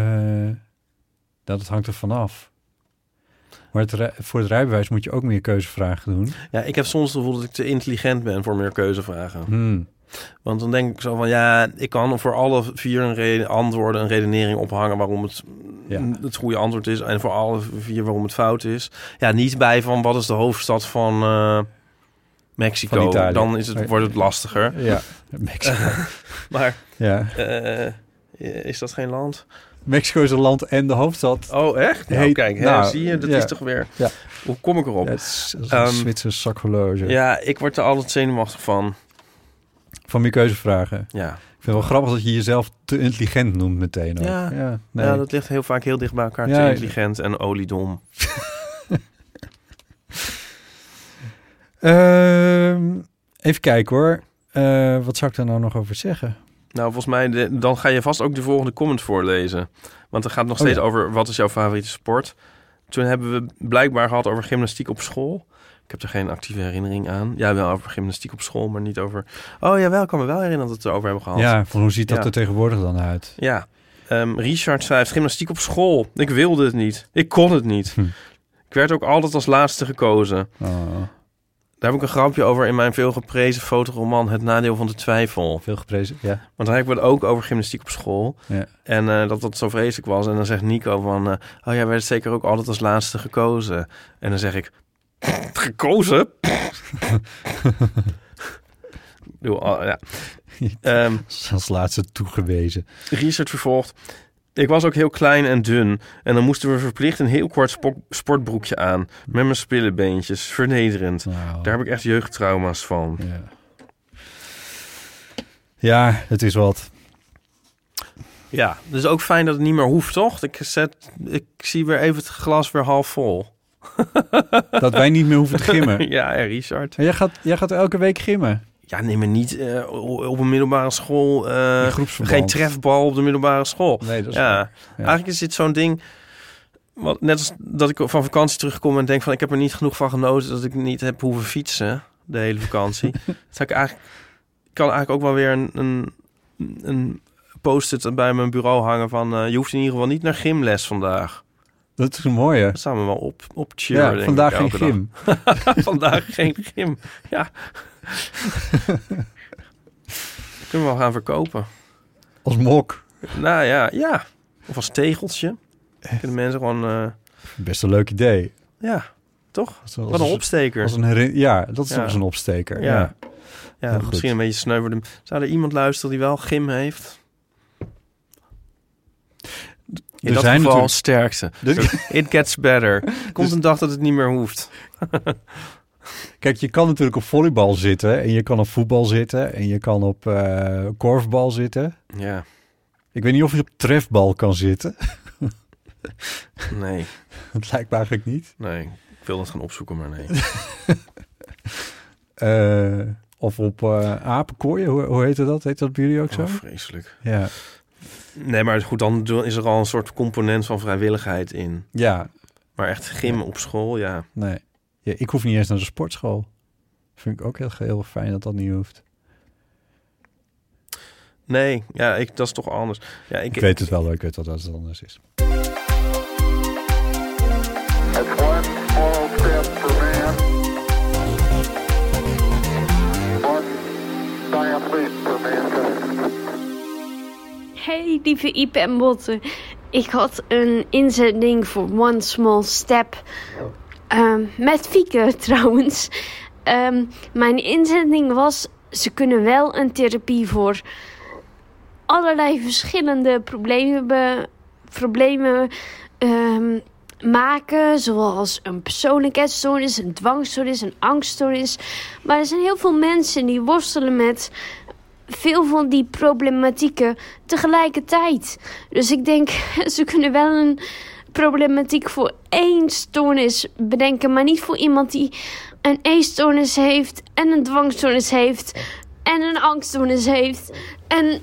[SPEAKER 3] nou, dat hangt er vanaf. Maar het rij- voor het rijbewijs moet je ook meer keuzevragen doen.
[SPEAKER 2] ja, ik heb soms het gevoel dat ik te intelligent ben voor meer keuzevragen.
[SPEAKER 3] Hmm.
[SPEAKER 2] Want dan denk ik zo van, ja, ik kan voor alle vier een reden, antwoorden een redenering ophangen waarom het
[SPEAKER 3] Ja.
[SPEAKER 2] Mm, het goede antwoord is. En voor alle vier waarom het fout is. Ja, niet bij van wat is de hoofdstad van eh,
[SPEAKER 3] Van
[SPEAKER 2] Mexico.
[SPEAKER 3] Italië.
[SPEAKER 2] dan is het, wordt het lastiger.
[SPEAKER 3] Ja, Mexico.
[SPEAKER 2] Maar
[SPEAKER 3] ja.
[SPEAKER 2] eh, is dat geen land?
[SPEAKER 3] Mexico is een land en de hoofdstad.
[SPEAKER 2] Oh, echt? Nou,
[SPEAKER 3] Heet-
[SPEAKER 2] kijk, hè,
[SPEAKER 3] nou,
[SPEAKER 2] zie je, dat
[SPEAKER 3] ja.
[SPEAKER 2] is toch weer...
[SPEAKER 3] Ja.
[SPEAKER 2] Hoe kom ik erop?
[SPEAKER 3] Ja,
[SPEAKER 2] Ja,
[SPEAKER 3] het is een
[SPEAKER 2] Ehm,
[SPEAKER 3] Zwitserse sakhorloge.
[SPEAKER 2] ik word er altijd zenuwachtig van.
[SPEAKER 3] Van meer keuzevragen.
[SPEAKER 2] Ja.
[SPEAKER 3] Ik vind het wel grappig dat je jezelf te intelligent noemt meteen ook.
[SPEAKER 2] Ja.
[SPEAKER 3] nee.
[SPEAKER 2] ja, dat ligt heel vaak heel dicht bij elkaar.
[SPEAKER 3] Ja,
[SPEAKER 2] te intelligent en oliedom.
[SPEAKER 3] Ehm, even kijken hoor. Eh, wat zou ik daar nou nog over zeggen?
[SPEAKER 2] Nou, volgens mij, de- dan ga je vast ook de volgende comment voorlezen. Want het gaat nog
[SPEAKER 3] Oh,
[SPEAKER 2] steeds
[SPEAKER 3] ja.
[SPEAKER 2] over wat is jouw favoriete sport. Toen hebben we blijkbaar gehad over gymnastiek op school. Ik heb er geen actieve herinnering aan. Ja, wel over gymnastiek op school, maar niet over... Oh ja, wel, ik kan me wel herinneren dat we het erover hebben gehad.
[SPEAKER 3] Ja, van hoe ziet dat
[SPEAKER 2] Ja.
[SPEAKER 3] er tegenwoordig dan uit?
[SPEAKER 2] Ja. Ehm, Richard schrijft, gymnastiek op school. Ik wilde het niet. Ik kon het niet.
[SPEAKER 3] Hm.
[SPEAKER 2] Ik werd ook altijd als laatste gekozen.
[SPEAKER 3] Oh,
[SPEAKER 2] Daar heb ik een grapje over in mijn veel geprezen fotoroman Het Nadeel van de Twijfel.
[SPEAKER 3] veel geprezen. Ja. *laughs*
[SPEAKER 2] Want daar hebben we het ook over gymnastiek op school.
[SPEAKER 3] Ja.
[SPEAKER 2] En eh, dat dat zo vreselijk was. En dan zegt Nico van... eh, oh, jij werd zeker ook altijd als laatste gekozen. En dan zeg ik... *laughs* Gekozen? Doe, al- oh, ja. Ehm,
[SPEAKER 3] Als laatste toegewezen.
[SPEAKER 2] Richard vervolgt... Ik was ook heel klein en dun. En dan moesten we verplicht een heel kort spo- sportbroekje aan. Met mijn spillebeentjes. Vernederend.
[SPEAKER 3] Nou,
[SPEAKER 2] Daar heb ik echt jeugdtrauma's van.
[SPEAKER 3] ja. ja, het is wat.
[SPEAKER 2] Ja, dus ook fijn dat het niet meer hoeft, toch? Ik, zet, ik zie weer even het glas weer half vol. *laughs*
[SPEAKER 3] Dat wij niet meer hoeven te gimmen.
[SPEAKER 2] Ja, en Richard.
[SPEAKER 3] Maar Jij gaat, jij gaat elke week gimmen.
[SPEAKER 2] Ja, neem me niet eh, o- op een middelbare school. eh,
[SPEAKER 3] In groepsverband.
[SPEAKER 2] geen trefbal op de middelbare school.
[SPEAKER 3] Nee, dat is
[SPEAKER 2] ja.
[SPEAKER 3] waar.
[SPEAKER 2] eigenlijk is dit zo'n ding. Wat, net als dat ik van vakantie terugkom en denk van ik heb er niet genoeg van genoten dat ik niet heb hoeven fietsen de hele
[SPEAKER 3] *laughs*
[SPEAKER 2] vakantie. Zou ik eigenlijk ik kan eigenlijk ook wel weer een, een, een post-it bij mijn bureau hangen van eh, je hoeft in ieder geval niet naar gymles vandaag.
[SPEAKER 3] Dat is een mooie.
[SPEAKER 2] Dat staan we wel op op cheer. denk
[SPEAKER 3] Ja,
[SPEAKER 2] ik,
[SPEAKER 3] vandaag geen
[SPEAKER 2] elke dag.
[SPEAKER 3] gym.
[SPEAKER 2] *laughs* Vandaag geen gym.
[SPEAKER 3] *laughs*
[SPEAKER 2] Ja. Kunnen we wel gaan verkopen.
[SPEAKER 3] Als mok.
[SPEAKER 2] Nou ja, ja. Of als tegeltje. Kunnen mensen gewoon... eh,
[SPEAKER 3] Best een leuk idee.
[SPEAKER 2] ja, toch?
[SPEAKER 3] Als- als-
[SPEAKER 2] Wat een opsteker.
[SPEAKER 3] Als een herin- ja, dat is
[SPEAKER 2] Ja.
[SPEAKER 3] toch eens een opsteker.
[SPEAKER 2] Ja.
[SPEAKER 3] Ja.
[SPEAKER 2] ja,
[SPEAKER 3] heel goed.
[SPEAKER 2] misschien een beetje sneu voor de... Zou er iemand luisteren die wel gym heeft? In
[SPEAKER 3] Er
[SPEAKER 2] dat
[SPEAKER 3] zijn
[SPEAKER 2] geval
[SPEAKER 3] natuurlijk-
[SPEAKER 2] sterkste. *laughs*
[SPEAKER 3] Dus-
[SPEAKER 2] It gets better. Komt
[SPEAKER 3] *laughs* Dus-
[SPEAKER 2] een dag dat het niet meer hoeft.
[SPEAKER 3] *laughs* Kijk, je kan natuurlijk op volleybal zitten en je kan op voetbal zitten en je kan op eh, korfbal zitten.
[SPEAKER 2] Ja,
[SPEAKER 3] Ik weet niet of je op trefbal kan zitten. *laughs*
[SPEAKER 2] nee,
[SPEAKER 3] Dat lijkt me eigenlijk niet.
[SPEAKER 2] nee. Ik wil dat gaan opzoeken, maar nee.
[SPEAKER 3] Eh, of op eh, apenkooien, hoe, hoe heette dat? Heet dat bij jullie ook zo?
[SPEAKER 2] Oh, vreselijk.
[SPEAKER 3] ja.
[SPEAKER 2] Nee, maar goed, dan do- is er al een soort component van vrijwilligheid in.
[SPEAKER 3] ja,
[SPEAKER 2] Maar echt gym op school, ja.
[SPEAKER 3] nee. Ja, ik hoef niet eens naar de sportschool. Vind ik ook heel, heel fijn dat dat niet hoeft.
[SPEAKER 2] Nee, ja, ik, dat is toch anders. Ja, ik,
[SPEAKER 3] Ik weet het wel, ik weet wel dat het anders is.
[SPEAKER 5] Hey, lieve Iep en Botten. Ik had een inzending voor One Small Step. Ehm, met Fieke *laughs* trouwens. Ehm, mijn inzending was: ze kunnen wel een therapie voor allerlei verschillende problemen, be- problemen ehm, maken. Zoals een persoonlijkheidsstoornis, een dwangstoornis, een angststoornis. Maar er zijn heel veel mensen die worstelen met veel van die problematieken tegelijkertijd. Dus ik denk, *laughs* ze kunnen wel een problematiek voor één stoornis bedenken, maar niet voor iemand die een eetstoornis heeft en een dwangstoornis heeft en een angststoornis heeft. En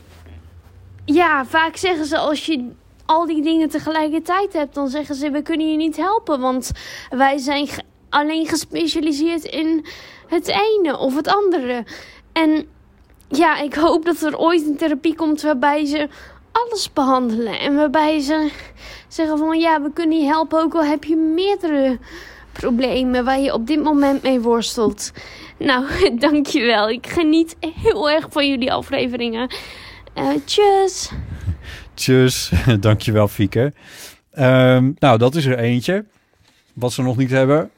[SPEAKER 5] ja, vaak zeggen ze als je al die dingen tegelijkertijd hebt, dan zeggen ze we kunnen je niet helpen, want wij zijn ge- alleen gespecialiseerd in het ene of het andere. En ja, ik hoop dat er ooit een therapie komt waarbij ze alles behandelen. En waarbij ze zeggen van ja, we kunnen je helpen ook al heb je meerdere problemen waar je op dit moment mee worstelt. Nou, *laughs* dankjewel. Ik geniet heel erg van jullie afleveringen. Eh tjus!
[SPEAKER 3] Tjus, *laughs* dankjewel Fieke. Ehm, nou, dat is er eentje. Wat ze nog niet hebben.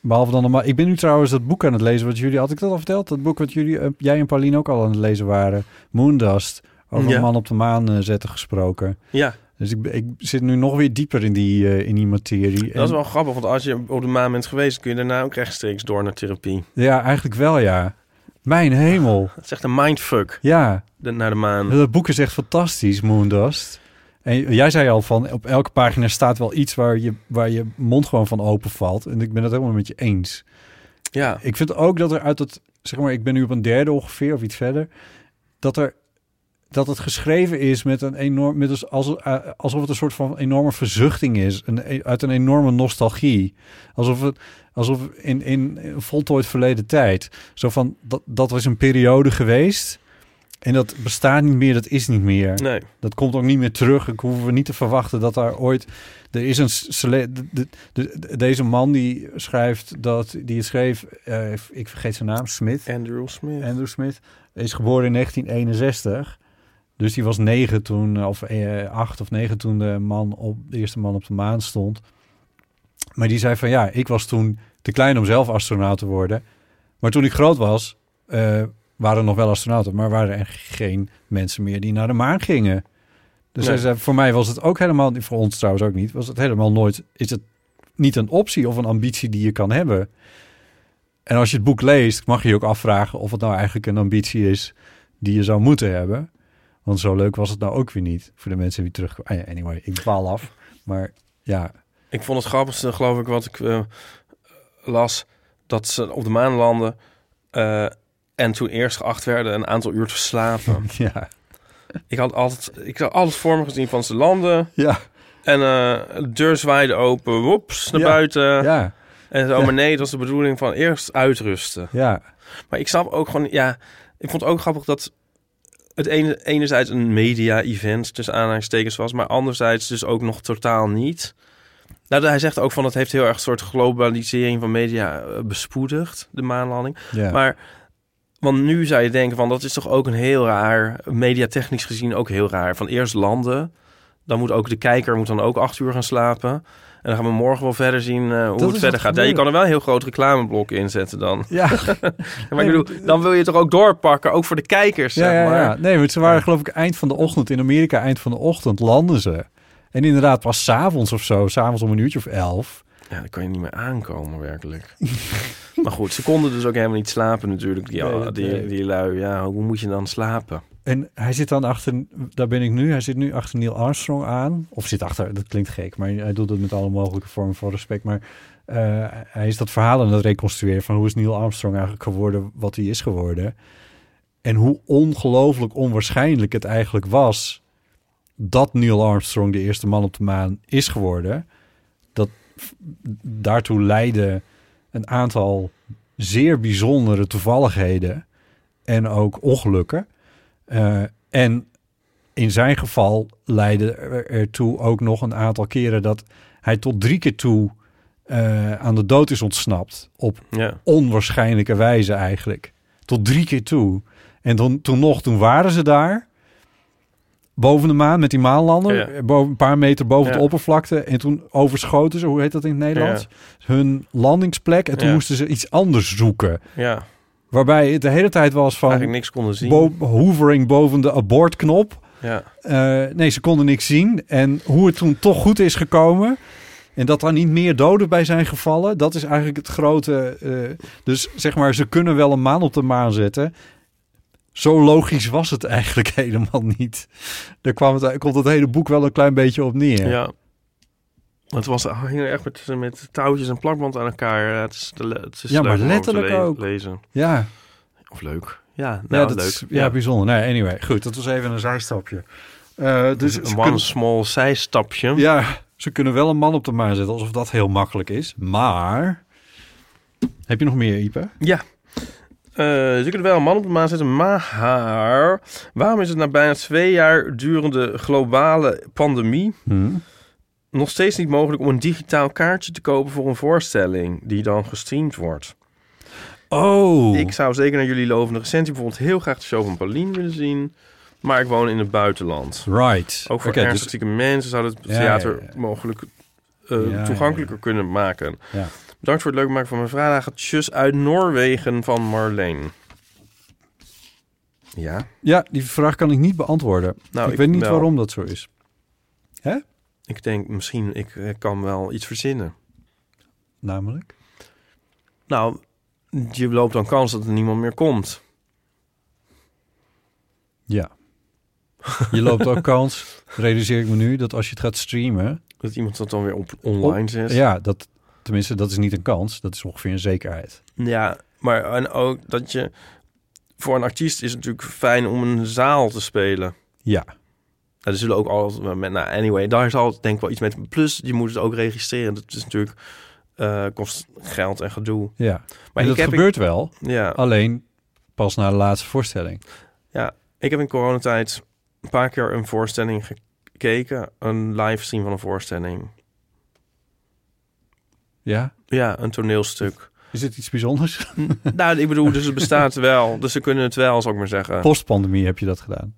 [SPEAKER 3] Behalve dan normaal. Ik ben nu trouwens dat boek aan het lezen wat jullie... Had ik dat al verteld? Dat boek wat jullie, eh, jij en Pauline ook al aan het lezen waren. Moondust. Over
[SPEAKER 2] Ja.
[SPEAKER 3] een man op de maan eh, zetten gesproken.
[SPEAKER 2] Ja,
[SPEAKER 3] Dus ik, ik zit nu nog weer dieper in die, eh, in die materie.
[SPEAKER 2] dat is wel grappig, want als je op de maan bent geweest, kun je daarna ook rechtstreeks door naar therapie.
[SPEAKER 3] Ja, eigenlijk wel ja. Mijn hemel.
[SPEAKER 2] Het is echt een mindfuck
[SPEAKER 3] Ja.
[SPEAKER 2] de- naar de maan.
[SPEAKER 3] Dat boek is echt fantastisch, Moondust. En jij zei al van, op elke pagina staat wel iets waar je, waar je mond gewoon van open valt. En ik ben het helemaal met je eens.
[SPEAKER 2] Ja,
[SPEAKER 3] Ik vind ook dat er uit het, zeg maar, ik ben nu op een derde ongeveer of iets verder, dat er dat het geschreven is met een enorm, met als, als, eh, alsof het een soort van enorme verzuchting is, een, uit een enorme nostalgie, alsof het, alsof in in voltooid verleden tijd, zo van dat dat is een periode geweest en dat bestaat niet meer, dat is niet meer.
[SPEAKER 2] nee.
[SPEAKER 3] Dat komt ook niet meer terug. Ik hoef niet te verwachten dat daar ooit. Er is een. sele- de- de- de- deze man die schrijft dat. Die het schreef. eh, ik vergeet zijn naam. Smith.
[SPEAKER 2] Andrew Smith.
[SPEAKER 3] Andrew Smith. Is geboren in 1961. Dus die was negen toen. Of eh, acht of negen toen de, man op, de eerste man op de maan stond. Maar die zei van ja. Ik was toen te klein om zelf astronaut te worden. Maar toen ik groot was. eh, waren er nog wel astronauten. Maar waren er geen mensen meer die naar de maan gingen. Dus
[SPEAKER 2] Nee.
[SPEAKER 3] hij zei, voor mij was het ook helemaal, voor ons trouwens ook niet, was het helemaal nooit, is het niet een optie of een ambitie die je kan hebben. En als je het boek leest, mag je je ook afvragen of het nou eigenlijk een ambitie is die je zou moeten hebben. Want zo leuk was het nou ook weer niet voor de mensen die terugkwamen. Ah ja, anyway, ik dwaal af. Maar ja, *laughs*
[SPEAKER 2] Ik vond het grappigste, geloof ik, wat ik eh, las, dat ze op de maan landden eh, en toen eerst geacht werden een aantal uur te *laughs* slapen.
[SPEAKER 3] ja,
[SPEAKER 2] ik had altijd, ik had alles voor me gezien van ze landen
[SPEAKER 3] ja,
[SPEAKER 2] en eh, de deur zwaaide open, woeps, naar
[SPEAKER 3] Ja,
[SPEAKER 2] buiten.
[SPEAKER 3] ja,
[SPEAKER 2] En zo,
[SPEAKER 3] Ja.
[SPEAKER 2] maar nee, dat was de bedoeling van eerst uitrusten.
[SPEAKER 3] ja,
[SPEAKER 2] Maar ik snap ook gewoon, ja, ik vond het ook grappig dat het ene, enerzijds een media-event tussen aanhalingstekens was, maar anderzijds dus ook nog totaal niet. Nou, hij zegt ook van het heeft heel erg een soort globalisering van media eh, bespoedigd, de maanlanding.
[SPEAKER 3] ja.
[SPEAKER 2] Maar, want nu zou je denken van dat is toch ook een heel raar, mediatechnisch gezien ook heel raar. Van eerst landen, dan moet ook de kijker moet dan ook acht uur gaan slapen. En dan gaan we morgen wel verder zien eh, hoe
[SPEAKER 3] is
[SPEAKER 2] het verder
[SPEAKER 3] wat
[SPEAKER 2] gaat. Nee, je
[SPEAKER 3] gebeurt.
[SPEAKER 2] kan er wel een heel groot reclameblok in zetten
[SPEAKER 3] *laughs*
[SPEAKER 2] dan.
[SPEAKER 3] ja.
[SPEAKER 2] Ja, maar ik bedoel, dan wil je toch ook doorpakken, ook voor de kijkers,
[SPEAKER 3] Ja,
[SPEAKER 2] zeg
[SPEAKER 3] ja,
[SPEAKER 2] maar.
[SPEAKER 3] ja. Nee, maar ze waren geloof ik eind van de ochtend in Amerika, eind van de ochtend landen ze. En inderdaad, pas s'avonds of zo, s'avonds om een uurtje of elf.
[SPEAKER 2] Ja, dan kan je niet meer aankomen
[SPEAKER 3] *laughs*
[SPEAKER 2] werkelijk. maar goed, ze konden dus ook helemaal niet slapen natuurlijk. Die,
[SPEAKER 3] Nee, dat-
[SPEAKER 2] die,
[SPEAKER 3] nee.
[SPEAKER 2] die lui, ja, hoe moet je dan slapen?
[SPEAKER 3] En hij zit dan achter, daar ben ik nu, hij zit nu achter Neil Armstrong aan. Of zit achter, dat klinkt gek, maar hij doet het met alle mogelijke vormen van respect. Maar eh, hij is dat verhaal aan het reconstrueren van hoe is Neil Armstrong eigenlijk geworden wat hij is geworden. En hoe ongelooflijk onwaarschijnlijk het eigenlijk was dat Neil Armstrong de eerste man op de maan is geworden. Dat f- daartoe leidde een aantal zeer bijzondere toevalligheden en ook ongelukken. Eh, en in zijn geval leidde er- ertoe ook nog een aantal keren dat hij tot drie keer toe eh, aan de dood is ontsnapt. Op
[SPEAKER 2] Ja,
[SPEAKER 3] onwaarschijnlijke wijze eigenlijk. Tot drie keer toe. En dan, toen nog, toen waren ze daar. Boven de maan met die maanlander.
[SPEAKER 2] Ja.
[SPEAKER 3] eh, Boven, een paar meter boven
[SPEAKER 2] Ja.
[SPEAKER 3] de oppervlakte. En toen overschoten ze, hoe heet dat in het Nederlands? Hun landingsplek. En toen
[SPEAKER 2] Ja.
[SPEAKER 3] moesten ze iets anders zoeken.
[SPEAKER 2] ja
[SPEAKER 3] Waarbij het de hele tijd was van...
[SPEAKER 2] eigenlijk niks konden zien.
[SPEAKER 3] Bo hovering boven de abortknop.
[SPEAKER 2] ja,
[SPEAKER 3] Eh, nee, ze konden niks zien. En hoe het toen toch goed is gekomen. En dat er niet meer doden bij zijn gevallen. Dat is eigenlijk het grote. eh, dus zeg maar, ze kunnen wel een maan op de maan zetten. Zo logisch was het eigenlijk *laughs* helemaal niet. Daar kwam het, komt het hele boek wel een klein beetje op neer.
[SPEAKER 2] ja. Het was hing echt met, met touwtjes en plakband aan elkaar. Het is, de, het is
[SPEAKER 3] Ja,
[SPEAKER 2] leuk
[SPEAKER 3] maar
[SPEAKER 2] om over te
[SPEAKER 3] letterlijk ook.
[SPEAKER 2] Lezen.
[SPEAKER 3] ja,
[SPEAKER 2] Of leuk. Ja, nou,
[SPEAKER 3] ja, dat
[SPEAKER 2] leuk.
[SPEAKER 3] is ja, bijzonder. Nee, anyway, goed, dat was even een zijstapje. Eh, dus
[SPEAKER 2] Dus
[SPEAKER 3] ze
[SPEAKER 2] een one
[SPEAKER 3] kunnen-
[SPEAKER 2] small zijstapje.
[SPEAKER 3] Ja, ze kunnen wel een man op de maan zetten, alsof dat heel makkelijk is. Maar. Heb je nog meer, Ipe?
[SPEAKER 2] Eh, ze kunnen wel een man op de maan zetten, maar waarom is het na bijna twee jaar durende globale pandemie nog steeds niet mogelijk om een digitaal kaartje te kopen voor een voorstelling die dan gestreamd wordt?
[SPEAKER 3] Oh.
[SPEAKER 2] Ik zou zeker naar jullie lovende recensie bijvoorbeeld heel graag de show van Pauline willen zien, maar ik woon in het buitenland.
[SPEAKER 3] Right.
[SPEAKER 2] Ook voor
[SPEAKER 3] Oké, dus-
[SPEAKER 2] ernstig zieke mensen zou het
[SPEAKER 3] Ja,
[SPEAKER 2] theater
[SPEAKER 3] ja, ja.
[SPEAKER 2] mogelijk eh,
[SPEAKER 3] Ja,
[SPEAKER 2] toegankelijker kunnen maken.
[SPEAKER 3] Ja.
[SPEAKER 2] Bedankt voor het leuk maken van mijn vragen. Tjus uit Noorwegen van Marleen. Ja,
[SPEAKER 3] ja, die vraag kan ik niet beantwoorden.
[SPEAKER 2] Nou,
[SPEAKER 3] ik,
[SPEAKER 2] ik
[SPEAKER 3] weet niet
[SPEAKER 2] wel.
[SPEAKER 3] waarom dat zo is.
[SPEAKER 2] ik denk misschien, ik eh, kan wel iets verzinnen.
[SPEAKER 3] Namelijk.
[SPEAKER 2] Nou, je loopt dan kans dat er niemand meer komt.
[SPEAKER 3] Ja. Je
[SPEAKER 2] *laughs*
[SPEAKER 3] loopt ook kans, realiseer ik me nu, dat als je het gaat streamen.
[SPEAKER 2] Dat iemand dat dan weer op online zet.
[SPEAKER 3] Oh, Ja, dat. Tenminste, dat is niet een kans. Dat is ongeveer een zekerheid.
[SPEAKER 2] Ja, maar en ook dat je... Voor een artiest is het natuurlijk fijn om een zaal te spelen.
[SPEAKER 3] Ja.
[SPEAKER 2] Nou, er zullen ook altijd... Met, nou, anyway, daar zal het denk ik wel iets mee... Plus, je moet het ook registreren. Dat is natuurlijk... eh, kost geld en gedoe.
[SPEAKER 3] Ja. Maar
[SPEAKER 2] ik Oh.
[SPEAKER 3] dat
[SPEAKER 2] heb-
[SPEAKER 3] gebeurt wel.
[SPEAKER 2] Ja.
[SPEAKER 3] Alleen pas na de laatste voorstelling.
[SPEAKER 2] Ik heb in coronatijd een paar keer een voorstelling gekeken. Een livestream van een voorstelling.
[SPEAKER 3] Ja.
[SPEAKER 2] Ja, een toneelstuk.
[SPEAKER 3] *laughs* Is dit iets bijzonders?
[SPEAKER 2] nou, ik bedoel, dus het bestaat wel. Dus ze kunnen het wel, zou ik maar zeggen.
[SPEAKER 3] Postpandemie heb je dat
[SPEAKER 2] *laughs*
[SPEAKER 3] gedaan.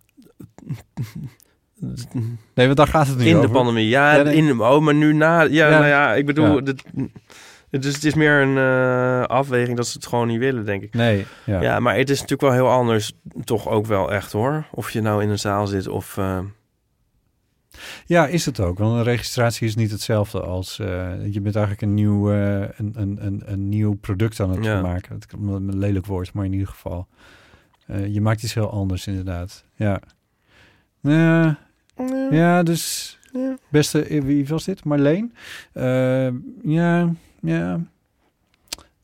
[SPEAKER 3] Nee, want daar gaat het nu
[SPEAKER 2] In de
[SPEAKER 3] over.
[SPEAKER 2] pandemie. Ja,
[SPEAKER 3] Ja, nee.
[SPEAKER 2] in de, oh, maar nu na. Ja,
[SPEAKER 3] Ja.
[SPEAKER 2] nou ja, ik bedoel...
[SPEAKER 3] Ja.
[SPEAKER 2] dit- dus het, is, het is meer een eh, afweging dat ze het gewoon niet willen, denk ik.
[SPEAKER 3] Nee, ja.
[SPEAKER 2] Ja. maar het is natuurlijk wel heel anders. Toch ook wel echt, hoor. Of je nou in een zaal zit of... eh,
[SPEAKER 3] Ja, is het ook. Want een registratie is niet hetzelfde als... eh, je bent eigenlijk een nieuw, eh, een, een, een, een nieuw product aan het
[SPEAKER 2] Ja.
[SPEAKER 3] maken. Het kan een lelijk woord, maar in ieder geval. eh, je maakt iets heel anders, inderdaad. Ja. Eh, ja, dus... Beste, eh, wie was dit? Marleen? Eh, ja, ja.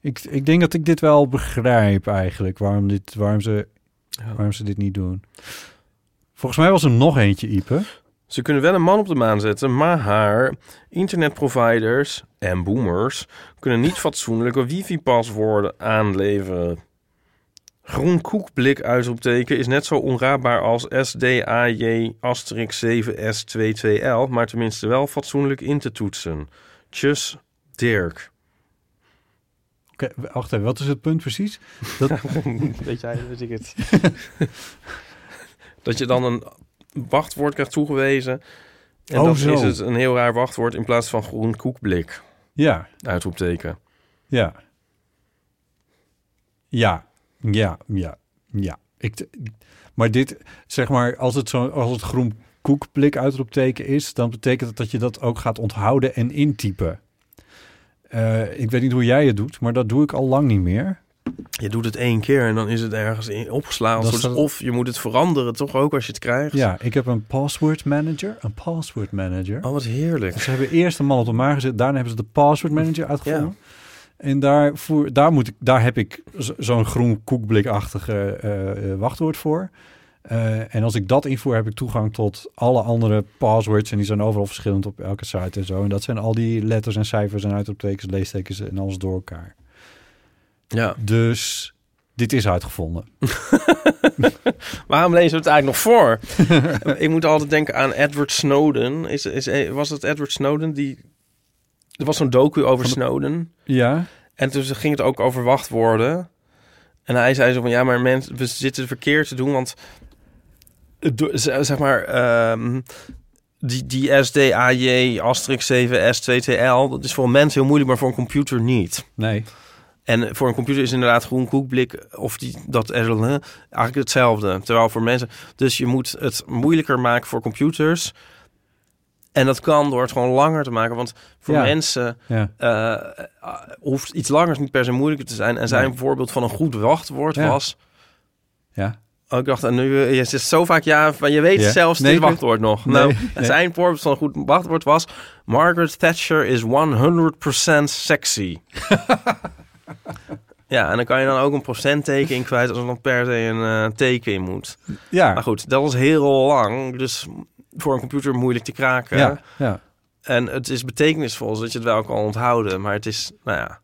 [SPEAKER 3] Ik, ik denk dat ik dit wel begrijp eigenlijk. Waarom, dit, waarom, ze,
[SPEAKER 2] Ja.
[SPEAKER 3] waarom ze dit niet doen. Volgens mij was er nog eentje, Ipe.
[SPEAKER 2] Ze kunnen wel een man op de maan zetten, maar haar internetproviders en boomers kunnen niet fatsoenlijke wifi-paswoorden aanleveren. Groen koekblik uitroepteken is net zo onraadbaar als SDAJ asterix 7S22L, maar tenminste wel fatsoenlijk in te toetsen. Tjus, Dirk.
[SPEAKER 3] Oké, wacht even, wat is het punt precies? Dat,
[SPEAKER 2] Weet jij, weet ik het. dat je dan een wachtwoord krijgt toegewezen. En
[SPEAKER 3] Oh,
[SPEAKER 2] dan
[SPEAKER 3] zo.
[SPEAKER 2] is het een heel raar wachtwoord in plaats van groen koekblik.
[SPEAKER 3] ja,
[SPEAKER 2] Uitroepteken.
[SPEAKER 3] ja. Ja, ja, ja, ja. Ik, t- maar dit, zeg maar, als het, zo, als het groen koekblik uitroepteken is, dan betekent dat dat je dat ook gaat onthouden en intypen. Eh, ik weet niet hoe jij het doet, maar dat doe ik al lang niet meer.
[SPEAKER 2] Je doet het één keer en dan is het ergens in opgeslagen.
[SPEAKER 3] Dat
[SPEAKER 2] Soort-
[SPEAKER 3] staat-
[SPEAKER 2] Of je moet het veranderen, toch ook als je het krijgt.
[SPEAKER 3] Ja, ik heb een password manager. Een password manager.
[SPEAKER 2] Oh, wat heerlijk.
[SPEAKER 3] Ze hebben eerst een man op de maan gezet. Daarna hebben ze de password manager uitgevonden. En daar, voer, daar, moet ik, daar heb ik zo- zo'n groen koekblikachtige eh, eh, wachtwoord voor. Eh, en als ik dat invoer, heb ik toegang tot alle andere passwords. En die zijn overal verschillend op elke site en zo. En dat zijn al die letters en cijfers en uitroeptekens, leestekens en alles door elkaar.
[SPEAKER 2] Ja.
[SPEAKER 3] Dus dit is uitgevonden.
[SPEAKER 2] Waarom lezen we het eigenlijk nog voor? *laughs* ik moet altijd denken aan Edward Snowden. Is, is, was het Edward Snowden die... Er was zo'n docu over Snowden.
[SPEAKER 3] Ja,
[SPEAKER 2] En toen ging het ook over wachtwoorden. En hij zei zo van... Ja, maar mensen, we zitten verkeerd te doen, want... het do- z- Zeg maar... ehm, die, die SDAJ, Asterix 7S2TL... Dat is voor een mens heel moeilijk, maar voor een computer niet.
[SPEAKER 3] nee.
[SPEAKER 2] En voor een computer is inderdaad groen koekblik of die, dat RLE eigenlijk hetzelfde. Terwijl voor mensen. Dus je moet het moeilijker maken voor computers. En dat kan door het gewoon langer te maken. Want voor
[SPEAKER 3] Ja.
[SPEAKER 2] mensen
[SPEAKER 3] Ja.
[SPEAKER 2] eh, eh, hoeft iets langers niet per se moeilijker te zijn. En zijn
[SPEAKER 3] Nee.
[SPEAKER 2] voorbeeld van een goed wachtwoord
[SPEAKER 3] Ja.
[SPEAKER 2] was.
[SPEAKER 3] ja.
[SPEAKER 2] Oh, ik dacht, en nu, eh, je zegt zo vaak ja, maar je weet
[SPEAKER 3] Ja.
[SPEAKER 2] zelfs
[SPEAKER 3] Nee,
[SPEAKER 2] dit
[SPEAKER 3] ik weet-
[SPEAKER 2] wachtwoord nog.
[SPEAKER 3] Nee,
[SPEAKER 2] nou,
[SPEAKER 3] nee.
[SPEAKER 2] zijn voorbeeld van een goed wachtwoord was... Margaret Thatcher is 100%
[SPEAKER 3] *laughs*
[SPEAKER 2] sexy. ja, en dan kan je dan ook een procentteken in kwijt... als er dan per se een eh, teken in moet. Maar
[SPEAKER 3] Ja.
[SPEAKER 2] goed, dat was heel lang. Dus voor een computer moeilijk te kraken.
[SPEAKER 3] Ja. ja.
[SPEAKER 2] En het is betekenisvol, zodat je het wel kan onthouden. Maar het is, nou ja...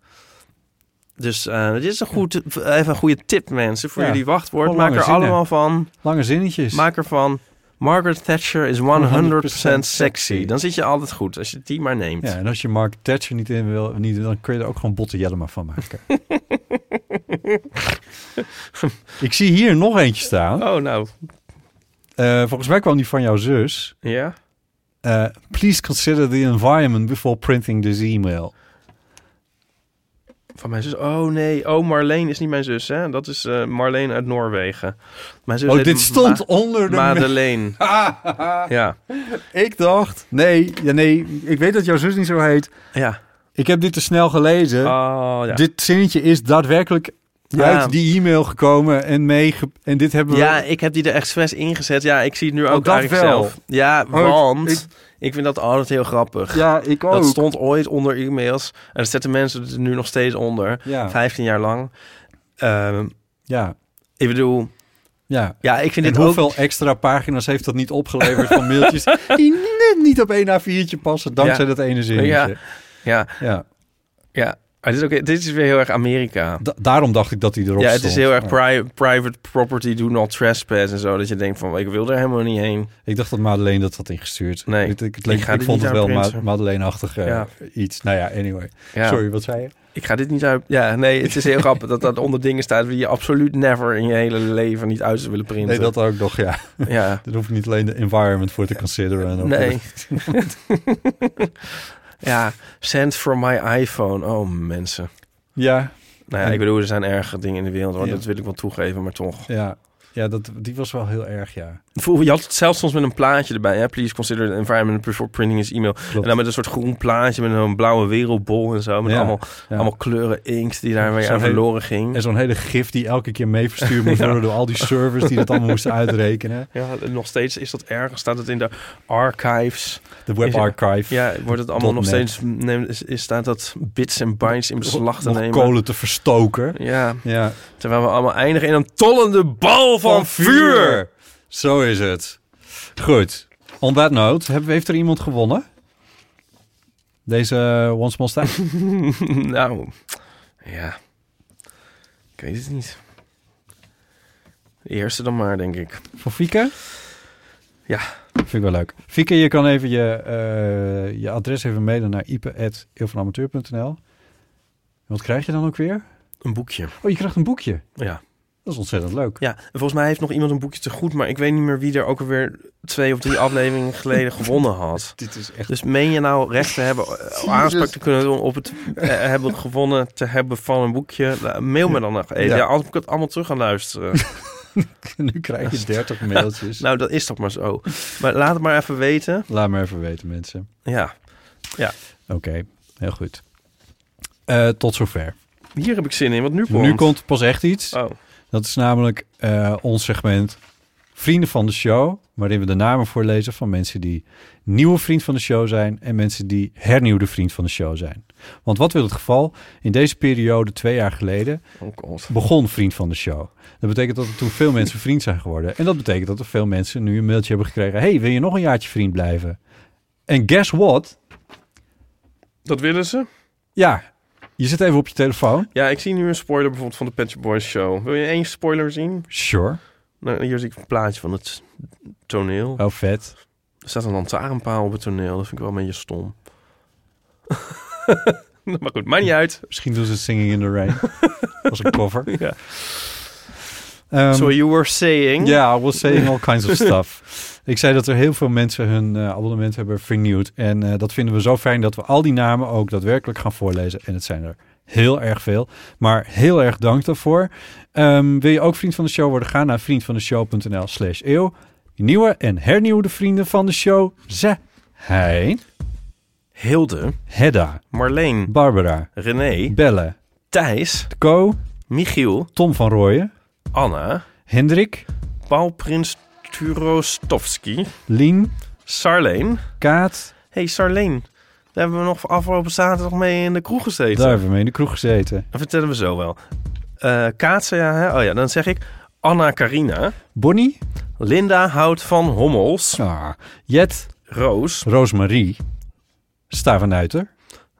[SPEAKER 2] Dus eh, dit is een goed, even een goede tip, mensen. Voor
[SPEAKER 3] Ja,
[SPEAKER 2] jullie wachtwoord.
[SPEAKER 3] gewoon
[SPEAKER 2] Maak er
[SPEAKER 3] lange zinnen.
[SPEAKER 2] allemaal van.
[SPEAKER 3] Lange zinnetjes.
[SPEAKER 2] Maak ervan. Margaret Thatcher is 100%,
[SPEAKER 3] 100%
[SPEAKER 2] sexy. Dan zit je altijd goed als je die maar neemt.
[SPEAKER 3] Ja, en als je Mark Thatcher niet in wil, niet, wil, dan kun je er ook gewoon Botte Jellema
[SPEAKER 2] *laughs*
[SPEAKER 3] van maken. ik zie hier nog eentje staan.
[SPEAKER 2] Oh, nou.
[SPEAKER 3] Eh, volgens mij kwam die van jouw zus.
[SPEAKER 2] Ja.
[SPEAKER 3] Eh, please consider the environment before printing this email.
[SPEAKER 2] Van mijn zus. Oh nee. Oh, Marleen is niet mijn zus, hè? Dat is eh, Marleen uit Noorwegen. Mijn zus
[SPEAKER 3] Oh,
[SPEAKER 2] heet
[SPEAKER 3] dit
[SPEAKER 2] Ma-
[SPEAKER 3] stond onder de...
[SPEAKER 2] Madeleine. ja.
[SPEAKER 3] *laughs* ik dacht... Nee, ja, nee, ik weet dat jouw zus niet zo heet.
[SPEAKER 2] Ja.
[SPEAKER 3] Ik heb dit te snel gelezen.
[SPEAKER 2] Oh, ja.
[SPEAKER 3] Dit zinnetje is daadwerkelijk
[SPEAKER 2] Ja.
[SPEAKER 3] uit die e-mail gekomen en mee... En dit hebben we...
[SPEAKER 2] Ja, ik heb die er expres ingezet. Ja, ik zie het nu ook
[SPEAKER 3] Oh, dat
[SPEAKER 2] eigenlijk
[SPEAKER 3] wel. Oh,
[SPEAKER 2] zelf. Ja, want ik, vind dat altijd heel grappig.
[SPEAKER 3] Ja, ik ook.
[SPEAKER 2] Dat stond ooit onder e-mails. En dat zetten mensen er nu nog steeds onder.
[SPEAKER 3] Ja.
[SPEAKER 2] 15 jaar lang. Ehm,
[SPEAKER 3] Ja,
[SPEAKER 2] ik bedoel,
[SPEAKER 3] ja.
[SPEAKER 2] ja, ik vind
[SPEAKER 3] En
[SPEAKER 2] dit ook...
[SPEAKER 3] hoeveel extra pagina's heeft dat niet opgeleverd van
[SPEAKER 2] *laughs*
[SPEAKER 3] mailtjes die net niet op één A4'tje passen dankzij
[SPEAKER 2] Ja.
[SPEAKER 3] dat ene zinnetje.
[SPEAKER 2] Ja,
[SPEAKER 3] Ja.
[SPEAKER 2] ja. Ah, dit, is ook, dit is weer heel erg Amerika.
[SPEAKER 3] Da- daarom dacht ik dat die erop
[SPEAKER 2] ja, het
[SPEAKER 3] stond.
[SPEAKER 2] is heel erg
[SPEAKER 3] Maar
[SPEAKER 2] pri- private property, do not trespass en zo. Dat je denkt van, ik wil er helemaal niet heen.
[SPEAKER 3] Ik dacht dat Madeleine dat had ingestuurd.
[SPEAKER 2] Nee,
[SPEAKER 3] ik, ik,
[SPEAKER 2] ik
[SPEAKER 3] leek-
[SPEAKER 2] ga
[SPEAKER 3] ik
[SPEAKER 2] dit
[SPEAKER 3] vond
[SPEAKER 2] niet
[SPEAKER 3] het wel
[SPEAKER 2] aan
[SPEAKER 3] Ma-
[SPEAKER 2] prinsen.
[SPEAKER 3] Madeleine-achtig eh,
[SPEAKER 2] Ja.
[SPEAKER 3] iets. Nou ja, anyway.
[SPEAKER 2] Ja,
[SPEAKER 3] Sorry, wat zei je?
[SPEAKER 2] Ik ga dit niet uit... Ja, nee, het is
[SPEAKER 3] *laughs*
[SPEAKER 2] heel grappig dat dat onder dingen staat... die je absoluut never in je hele leven niet uit zou willen printen.
[SPEAKER 3] Nee, dat ook nog, ja. *laughs*
[SPEAKER 2] *laughs* Ja.
[SPEAKER 3] Daar hoef ik niet alleen de environment voor te consideren. En ook
[SPEAKER 2] Nee. *laughs* ja, send from my iPhone. Oh, mensen.
[SPEAKER 3] Ja,
[SPEAKER 2] Nou ja, ik bedoel, er zijn erge dingen in de wereld. Hoor.
[SPEAKER 3] Ja.
[SPEAKER 2] Dat wil ik wel toegeven, maar toch.
[SPEAKER 3] ja. Ja, dat, die was wel heel erg, ja.
[SPEAKER 2] Vroeger, je had het zelfs soms met een plaatje erbij. Hè? Please consider the environment before printing is e-mail. En dan met een soort groen plaatje met een blauwe wereldbol en zo. Met
[SPEAKER 3] Ja,
[SPEAKER 2] allemaal,
[SPEAKER 3] ja.
[SPEAKER 2] allemaal kleuren inkt die daarmee
[SPEAKER 3] Zo'n
[SPEAKER 2] aan
[SPEAKER 3] hele-
[SPEAKER 2] verloren ging.
[SPEAKER 3] En zo'n hele gif die elke keer mee
[SPEAKER 2] *laughs*
[SPEAKER 3] verstuurd moest worden door al die servers die dat allemaal moesten uitrekenen.
[SPEAKER 2] Ja, nog steeds is dat erg. Staat het in de archives.
[SPEAKER 3] De web
[SPEAKER 2] Is er-
[SPEAKER 3] archive.
[SPEAKER 2] Ja, wordt het allemaal
[SPEAKER 3] Dot
[SPEAKER 2] nog
[SPEAKER 3] net.
[SPEAKER 2] steeds... Neem, is, is- staat dat bits en bytes in beslag te
[SPEAKER 3] nog
[SPEAKER 2] nemen.
[SPEAKER 3] kolen te verstoken.
[SPEAKER 2] Ja,
[SPEAKER 3] Ja.
[SPEAKER 2] terwijl we allemaal eindigen in een tollende bal van, vuur.
[SPEAKER 3] Zo is het. Goed. On that note, heb- heeft er iemand gewonnen? Deze eh, Once
[SPEAKER 2] *laughs*
[SPEAKER 3] More Style?
[SPEAKER 2] nou, ja. Ik weet het niet. De eerste dan maar, denk ik.
[SPEAKER 3] Voor Fieke?
[SPEAKER 2] Ja.
[SPEAKER 3] Vind ik wel leuk. Fieke, je kan even je, eh, je adres even mailen naar ipe.eeuwvanamateur.nl. En Wat krijg je dan ook weer?
[SPEAKER 2] Een boekje.
[SPEAKER 3] Oh, je krijgt een boekje.
[SPEAKER 2] Ja.
[SPEAKER 3] Dat is ontzettend leuk.
[SPEAKER 2] ja. En volgens mij heeft nog iemand een boekje te goed, maar ik weet niet meer wie er ook alweer twee of *laughs* drie afleveringen geleden gewonnen had.
[SPEAKER 3] Dit is echt...
[SPEAKER 2] Dus meen je nou recht te hebben, *laughs* eh, aanspraak te kunnen doen op het eh, hebben gewonnen te hebben van een boekje? Nou, mail me dan nog even. *laughs*
[SPEAKER 3] Ja.
[SPEAKER 2] Ja. anders moet ik het allemaal terug gaan luisteren. *laughs*
[SPEAKER 3] nu krijg je 30 mailtjes.
[SPEAKER 2] Nou, dat is toch maar zo. Maar laat het maar even weten.
[SPEAKER 3] Laat maar even weten, mensen.
[SPEAKER 2] Ja.
[SPEAKER 3] Oké, heel goed. Eh, tot zover. Ah.
[SPEAKER 2] Hier heb ik zin in, want nu komt...
[SPEAKER 3] Nu komt pas echt iets.
[SPEAKER 2] Oh,
[SPEAKER 3] Dat is namelijk eh, ons segment Vrienden van de Show, waarin we de namen voorlezen van mensen die nieuwe vriend van de show zijn en mensen die hernieuwde vriend van de show zijn. Want wat wil het geval? In deze periode, twee jaar geleden,
[SPEAKER 2] oh god.
[SPEAKER 3] begon vriend van de show. Dat betekent dat er toen veel mensen vriend zijn geworden. En dat betekent dat er veel mensen nu een mailtje hebben gekregen. hey, wil je nog een jaartje vriend blijven? En guess what?
[SPEAKER 2] Dat willen ze?
[SPEAKER 3] Ja, je zit even op je telefoon.
[SPEAKER 2] Ja, ik zie nu een spoiler bijvoorbeeld van de Pet Shop Boys show. Wil je één spoiler zien?
[SPEAKER 3] Sure.
[SPEAKER 2] Nou, hier zie ik een plaatje van het toneel.
[SPEAKER 3] Oh, vet.
[SPEAKER 2] Er staat een lantaarnpaal op het toneel. Dat vind ik wel een beetje stom. *laughs* maar goed, maakt niet uit.
[SPEAKER 3] Misschien doen ze het Singing in the Rain. Als een cover.
[SPEAKER 2] Ja.
[SPEAKER 3] Ehm,
[SPEAKER 2] so you were saying...
[SPEAKER 3] Ja, I was saying all kinds of stuff. Ik zei dat er heel veel mensen hun eh, abonnement hebben vernieuwd. En eh, dat vinden we zo fijn dat we al die namen ook daadwerkelijk gaan voorlezen. En het zijn er heel erg veel. Maar heel erg dank daarvoor. Ehm, wil je ook vriend van de show worden? Ga naar vriendvandeshow.nl slash eeuw. Nieuwe en hernieuwde vrienden van de show zijn...
[SPEAKER 2] Hilde,
[SPEAKER 3] Hedda,
[SPEAKER 2] Marleen,
[SPEAKER 3] Barbara,
[SPEAKER 2] René,
[SPEAKER 3] Belle,
[SPEAKER 2] Thijs,
[SPEAKER 3] Co,
[SPEAKER 2] Michiel,
[SPEAKER 3] Tom van Rooyen,
[SPEAKER 2] Anna,
[SPEAKER 3] Hendrik,
[SPEAKER 2] Paul Prins Turostovski,
[SPEAKER 3] Lien,
[SPEAKER 2] Sarleen.
[SPEAKER 3] Kaat.
[SPEAKER 2] hey, Sarleen, daar hebben we nog afgelopen zaterdag mee in de kroeg gezeten.
[SPEAKER 3] Daar hebben we mee in de kroeg gezeten.
[SPEAKER 2] Dat vertellen we zo wel. Eh Kaat zei ja, hè? oh ja, dan zeg ik Anna Karina,
[SPEAKER 3] Bonnie,
[SPEAKER 2] Linda Hout van Hommels,
[SPEAKER 3] ah, Jet,
[SPEAKER 2] Roos,
[SPEAKER 3] Roosmarie, Stavenuiter,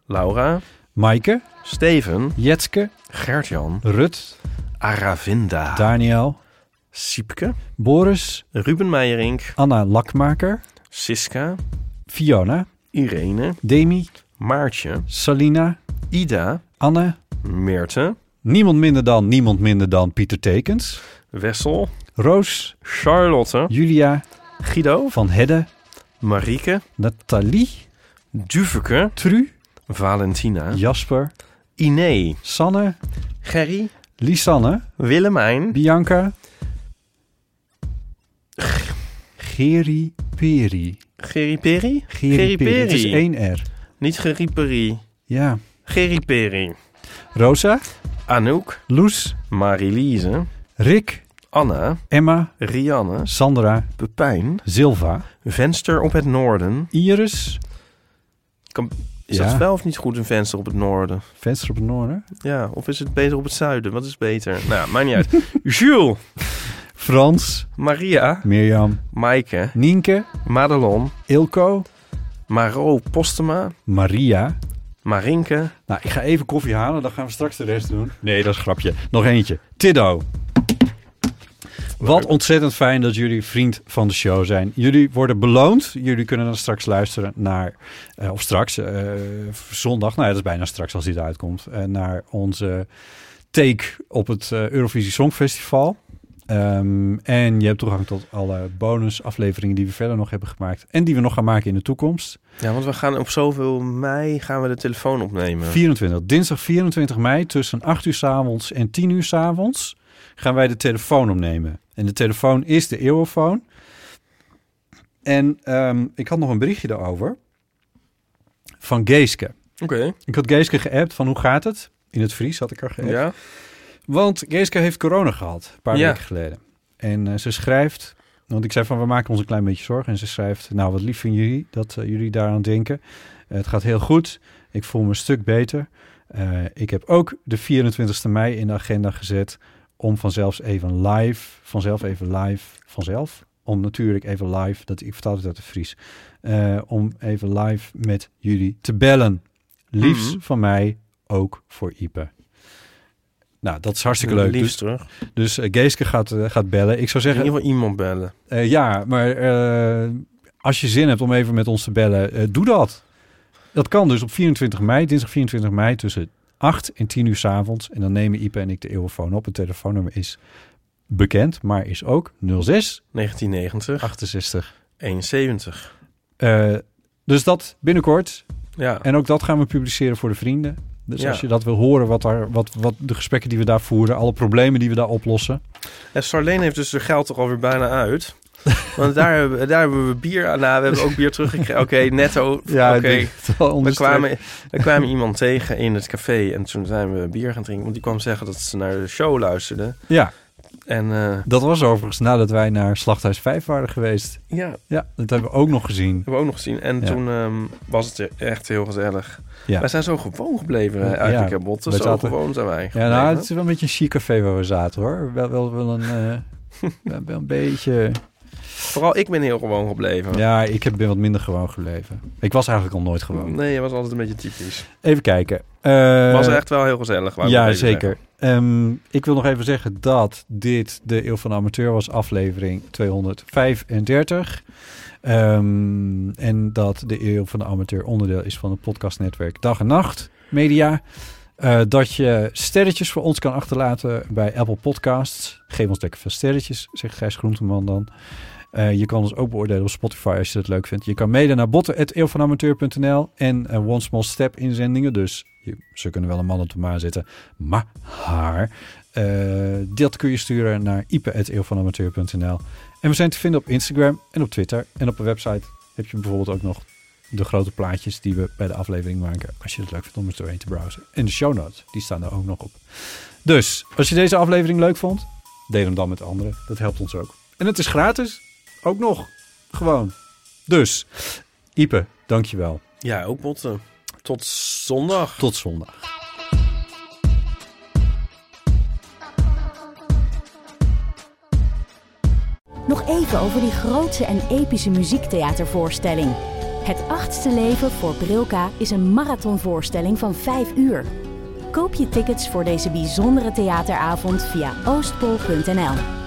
[SPEAKER 2] Laura,
[SPEAKER 3] Maaike,
[SPEAKER 2] Steven,
[SPEAKER 3] Jetske,
[SPEAKER 2] Gertjan,
[SPEAKER 3] Rut,
[SPEAKER 2] Aravinda,
[SPEAKER 3] Daniel,
[SPEAKER 2] Siepke,
[SPEAKER 3] Boris,
[SPEAKER 2] Ruben Meijerink,
[SPEAKER 3] Anna Lakmaker,
[SPEAKER 2] Siska,
[SPEAKER 3] Fiona,
[SPEAKER 2] Irene,
[SPEAKER 3] Demi,
[SPEAKER 2] Maartje,
[SPEAKER 3] Salina,
[SPEAKER 2] Ida,
[SPEAKER 3] Anne,
[SPEAKER 2] Meerte,
[SPEAKER 3] niemand minder dan, niemand minder dan Pieter Tekens,
[SPEAKER 2] Wessel,
[SPEAKER 3] Roos,
[SPEAKER 2] Charlotte,
[SPEAKER 3] Julia,
[SPEAKER 2] Guido,
[SPEAKER 3] Van Hedde,
[SPEAKER 2] Marieke,
[SPEAKER 3] Nathalie,
[SPEAKER 2] Duveke,
[SPEAKER 3] Tru,
[SPEAKER 2] Valentina,
[SPEAKER 3] Jasper,
[SPEAKER 2] Iné,
[SPEAKER 3] Sanne,
[SPEAKER 2] Gerry,
[SPEAKER 3] Lisanne,
[SPEAKER 2] Willemijn,
[SPEAKER 3] Bianca, Geri Peri.
[SPEAKER 2] Gerry Perry?
[SPEAKER 3] Geriperi.
[SPEAKER 2] Geriperi.
[SPEAKER 3] Het is één R.
[SPEAKER 2] Niet Gerry Perry,
[SPEAKER 3] Ja.
[SPEAKER 2] Gerry Perry.
[SPEAKER 3] Rosa,
[SPEAKER 2] Anouk,
[SPEAKER 3] Loes,
[SPEAKER 2] Marilise,
[SPEAKER 3] Rick,
[SPEAKER 2] Anna,
[SPEAKER 3] Emma,
[SPEAKER 2] Rianne,
[SPEAKER 3] Sandra,
[SPEAKER 2] Pepijn,
[SPEAKER 3] Silva,
[SPEAKER 2] Venster op het Noorden.
[SPEAKER 3] Iris.
[SPEAKER 2] Kan, is
[SPEAKER 3] Ja.
[SPEAKER 2] dat wel of niet goed, een venster op het Noorden?
[SPEAKER 3] Venster op het noorden.
[SPEAKER 2] Ja, of is het beter op het Zuiden? Wat is beter? Nou, maakt niet uit.
[SPEAKER 3] *laughs*
[SPEAKER 2] Jules,
[SPEAKER 3] Frans,
[SPEAKER 2] Maria,
[SPEAKER 3] Mirjam,
[SPEAKER 2] Maaike,
[SPEAKER 3] Nienke,
[SPEAKER 2] Madelon,
[SPEAKER 3] Ilko,
[SPEAKER 2] Maro Postema,
[SPEAKER 3] Maria.
[SPEAKER 2] Marinke,
[SPEAKER 3] Nou, ik ga even koffie halen, dan gaan we straks de rest doen. Nee, dat is een grapje. Nog eentje. Tiddo. Wat ontzettend fijn dat jullie vriend van de show zijn. Jullie worden beloond. Jullie kunnen dan straks luisteren naar, eh, of straks, eh, zondag, nou ja, dat is bijna straks als dit uitkomt, eh, naar onze take op het eh, Eurovisie Songfestival. Ehm, en je hebt toegang tot alle bonusafleveringen die we verder nog hebben gemaakt en die we nog gaan maken in de toekomst.
[SPEAKER 2] Ja, want we gaan op zoveel mei gaan we de telefoon opnemen.
[SPEAKER 3] 24. Dinsdag 24 mei tussen 8 uur 's avonds en 10 uur 's avonds gaan wij de telefoon opnemen. En de telefoon is de Eeuwofoon. En ehm, ik had nog een berichtje daarover van Geeske.
[SPEAKER 2] Oké.
[SPEAKER 3] Ik had Geeske geappt van hoe gaat het? In het Fries had ik haar geappt.
[SPEAKER 2] Ja.
[SPEAKER 3] Want Geeske heeft corona gehad, een paar
[SPEAKER 2] Ja.
[SPEAKER 3] weken geleden. En eh, ze schrijft, want ik zei van we maken ons een klein beetje zorgen. En ze schrijft, nou wat lief van jullie dat eh, jullie daaraan denken. Eh, het gaat heel goed, ik voel me een stuk beter. Eh, ik heb ook de 24e mei in de agenda gezet om vanzelf even live, vanzelf even live, vanzelf. Om natuurlijk even live, dat, ik vertaal het uit de Fries. eh, om even live met jullie te bellen. Liefst
[SPEAKER 2] Mhm.
[SPEAKER 3] van mij, ook voor Ipe. Nou, dat is hartstikke leuk. Dus-
[SPEAKER 2] Liefst terug.
[SPEAKER 3] dus eh, Geeske gaat, eh, gaat bellen. Ik zou
[SPEAKER 2] In ieder
[SPEAKER 3] zeggen,
[SPEAKER 2] geval iemand bellen.
[SPEAKER 3] eh, ja, maar eh, als je zin hebt om even met ons te bellen, eh, doe dat. Dat kan dus op 24 mei, dinsdag 24 mei tussen 8 en 10 uur 's avonds. En dan nemen Ipe en ik de eeuwenfoon op. Het telefoonnummer is bekend, maar is ook 06
[SPEAKER 2] 1990,
[SPEAKER 3] Ah. 68.
[SPEAKER 2] 71.
[SPEAKER 3] Eh, dus dat binnenkort.
[SPEAKER 2] Ja.
[SPEAKER 3] En ook dat gaan we publiceren voor de vrienden. Dus
[SPEAKER 2] Ja.
[SPEAKER 3] als je dat wil horen, wat, daar, wat, wat de gesprekken die we daar voeren, alle problemen die we daar oplossen.
[SPEAKER 2] En Sarleen heeft dus zijn geld toch alweer bijna uit. Want daar hebben, we- daar hebben we bier aan. Nou, we hebben ook bier teruggekregen. Oké, netto.
[SPEAKER 3] *laughs*
[SPEAKER 2] Oké. *laughs*
[SPEAKER 3] Ja, ik denk het wel
[SPEAKER 2] We
[SPEAKER 3] onderstreept.
[SPEAKER 2] kwamen, we kwamen iemand tegen in het café en toen zijn we bier gaan drinken. Want die kwam zeggen dat ze naar de show luisterde.
[SPEAKER 3] Ja,
[SPEAKER 2] En eh,
[SPEAKER 3] dat was overigens nadat wij naar Slachthuis 5 waren geweest.
[SPEAKER 2] ja, dat
[SPEAKER 3] Ja, dat hebben we ook nog gezien.
[SPEAKER 2] hebben we ook nog gezien. En
[SPEAKER 3] Ja.
[SPEAKER 2] toen ehm, was het echt heel gezellig.
[SPEAKER 3] Ja.
[SPEAKER 2] Wij zijn zo gewoon gebleven eh,
[SPEAKER 3] Ja,
[SPEAKER 2] eigenlijk, ja, Botten.
[SPEAKER 3] wij
[SPEAKER 2] Zo
[SPEAKER 3] zaten-
[SPEAKER 2] gewoon zijn wij
[SPEAKER 3] Ja, nou,
[SPEAKER 2] gebleven.
[SPEAKER 3] het is wel een beetje een chic café waar we zaten, hoor. Wel, wel, wel een... eh, wel- wel een beetje...
[SPEAKER 2] Vooral ik ben heel gewoon gebleven.
[SPEAKER 3] Ja, ik heb- ben wat minder gewoon gebleven. Ik was eigenlijk al nooit gewoon.
[SPEAKER 2] Nee, het was altijd een beetje typisch.
[SPEAKER 3] Even kijken.
[SPEAKER 2] Het
[SPEAKER 3] Eh,
[SPEAKER 2] was echt wel heel gezellig. wou ik nog
[SPEAKER 3] Ja,
[SPEAKER 2] even zeggen.
[SPEAKER 3] zeker. Ehm, ik wil nog even zeggen dat dit de Eeuw van de Amateur was, aflevering 235. Ehm, en dat de Eeuw van de Amateur onderdeel is van het podcastnetwerk Dag en Nacht Media. Eh, dat je sterretjes voor ons kan achterlaten bij Apple Podcasts. Geef ons lekker veel sterretjes, zegt Gijs Groenteman dan. Eh, je kan ons ook beoordelen op Spotify als je dat leuk vindt. Je kan mailen naar botten.eeuwvanamateur.nl en eh, One Small Step inzendingen. Dus je, ze kunnen wel een man op de maan zetten, maar haar. eh, dat kun je sturen naar ipe.eeuwvanamateur.nl. En we zijn te vinden op Instagram en op Twitter. En op de website heb je bijvoorbeeld ook nog de grote plaatjes die we bij de aflevering maken. Als je het leuk vindt om eens doorheen te browsen. En de show notes, die staan er ook nog op. Dus, als je deze aflevering leuk vond, deel hem dan met anderen. Dat helpt ons ook. En het is gratis. Ook nog. Gewoon. Dus, Ipe, dankjewel.
[SPEAKER 2] Ja, ook Botten. Tot zondag.
[SPEAKER 3] Tot zondag.
[SPEAKER 1] Nog even over die grootse en epische muziektheatervoorstelling. Het achtste leven voor Brilka is een marathonvoorstelling van 5 uur. Koop je tickets voor deze bijzondere theateravond via oostpol.nl.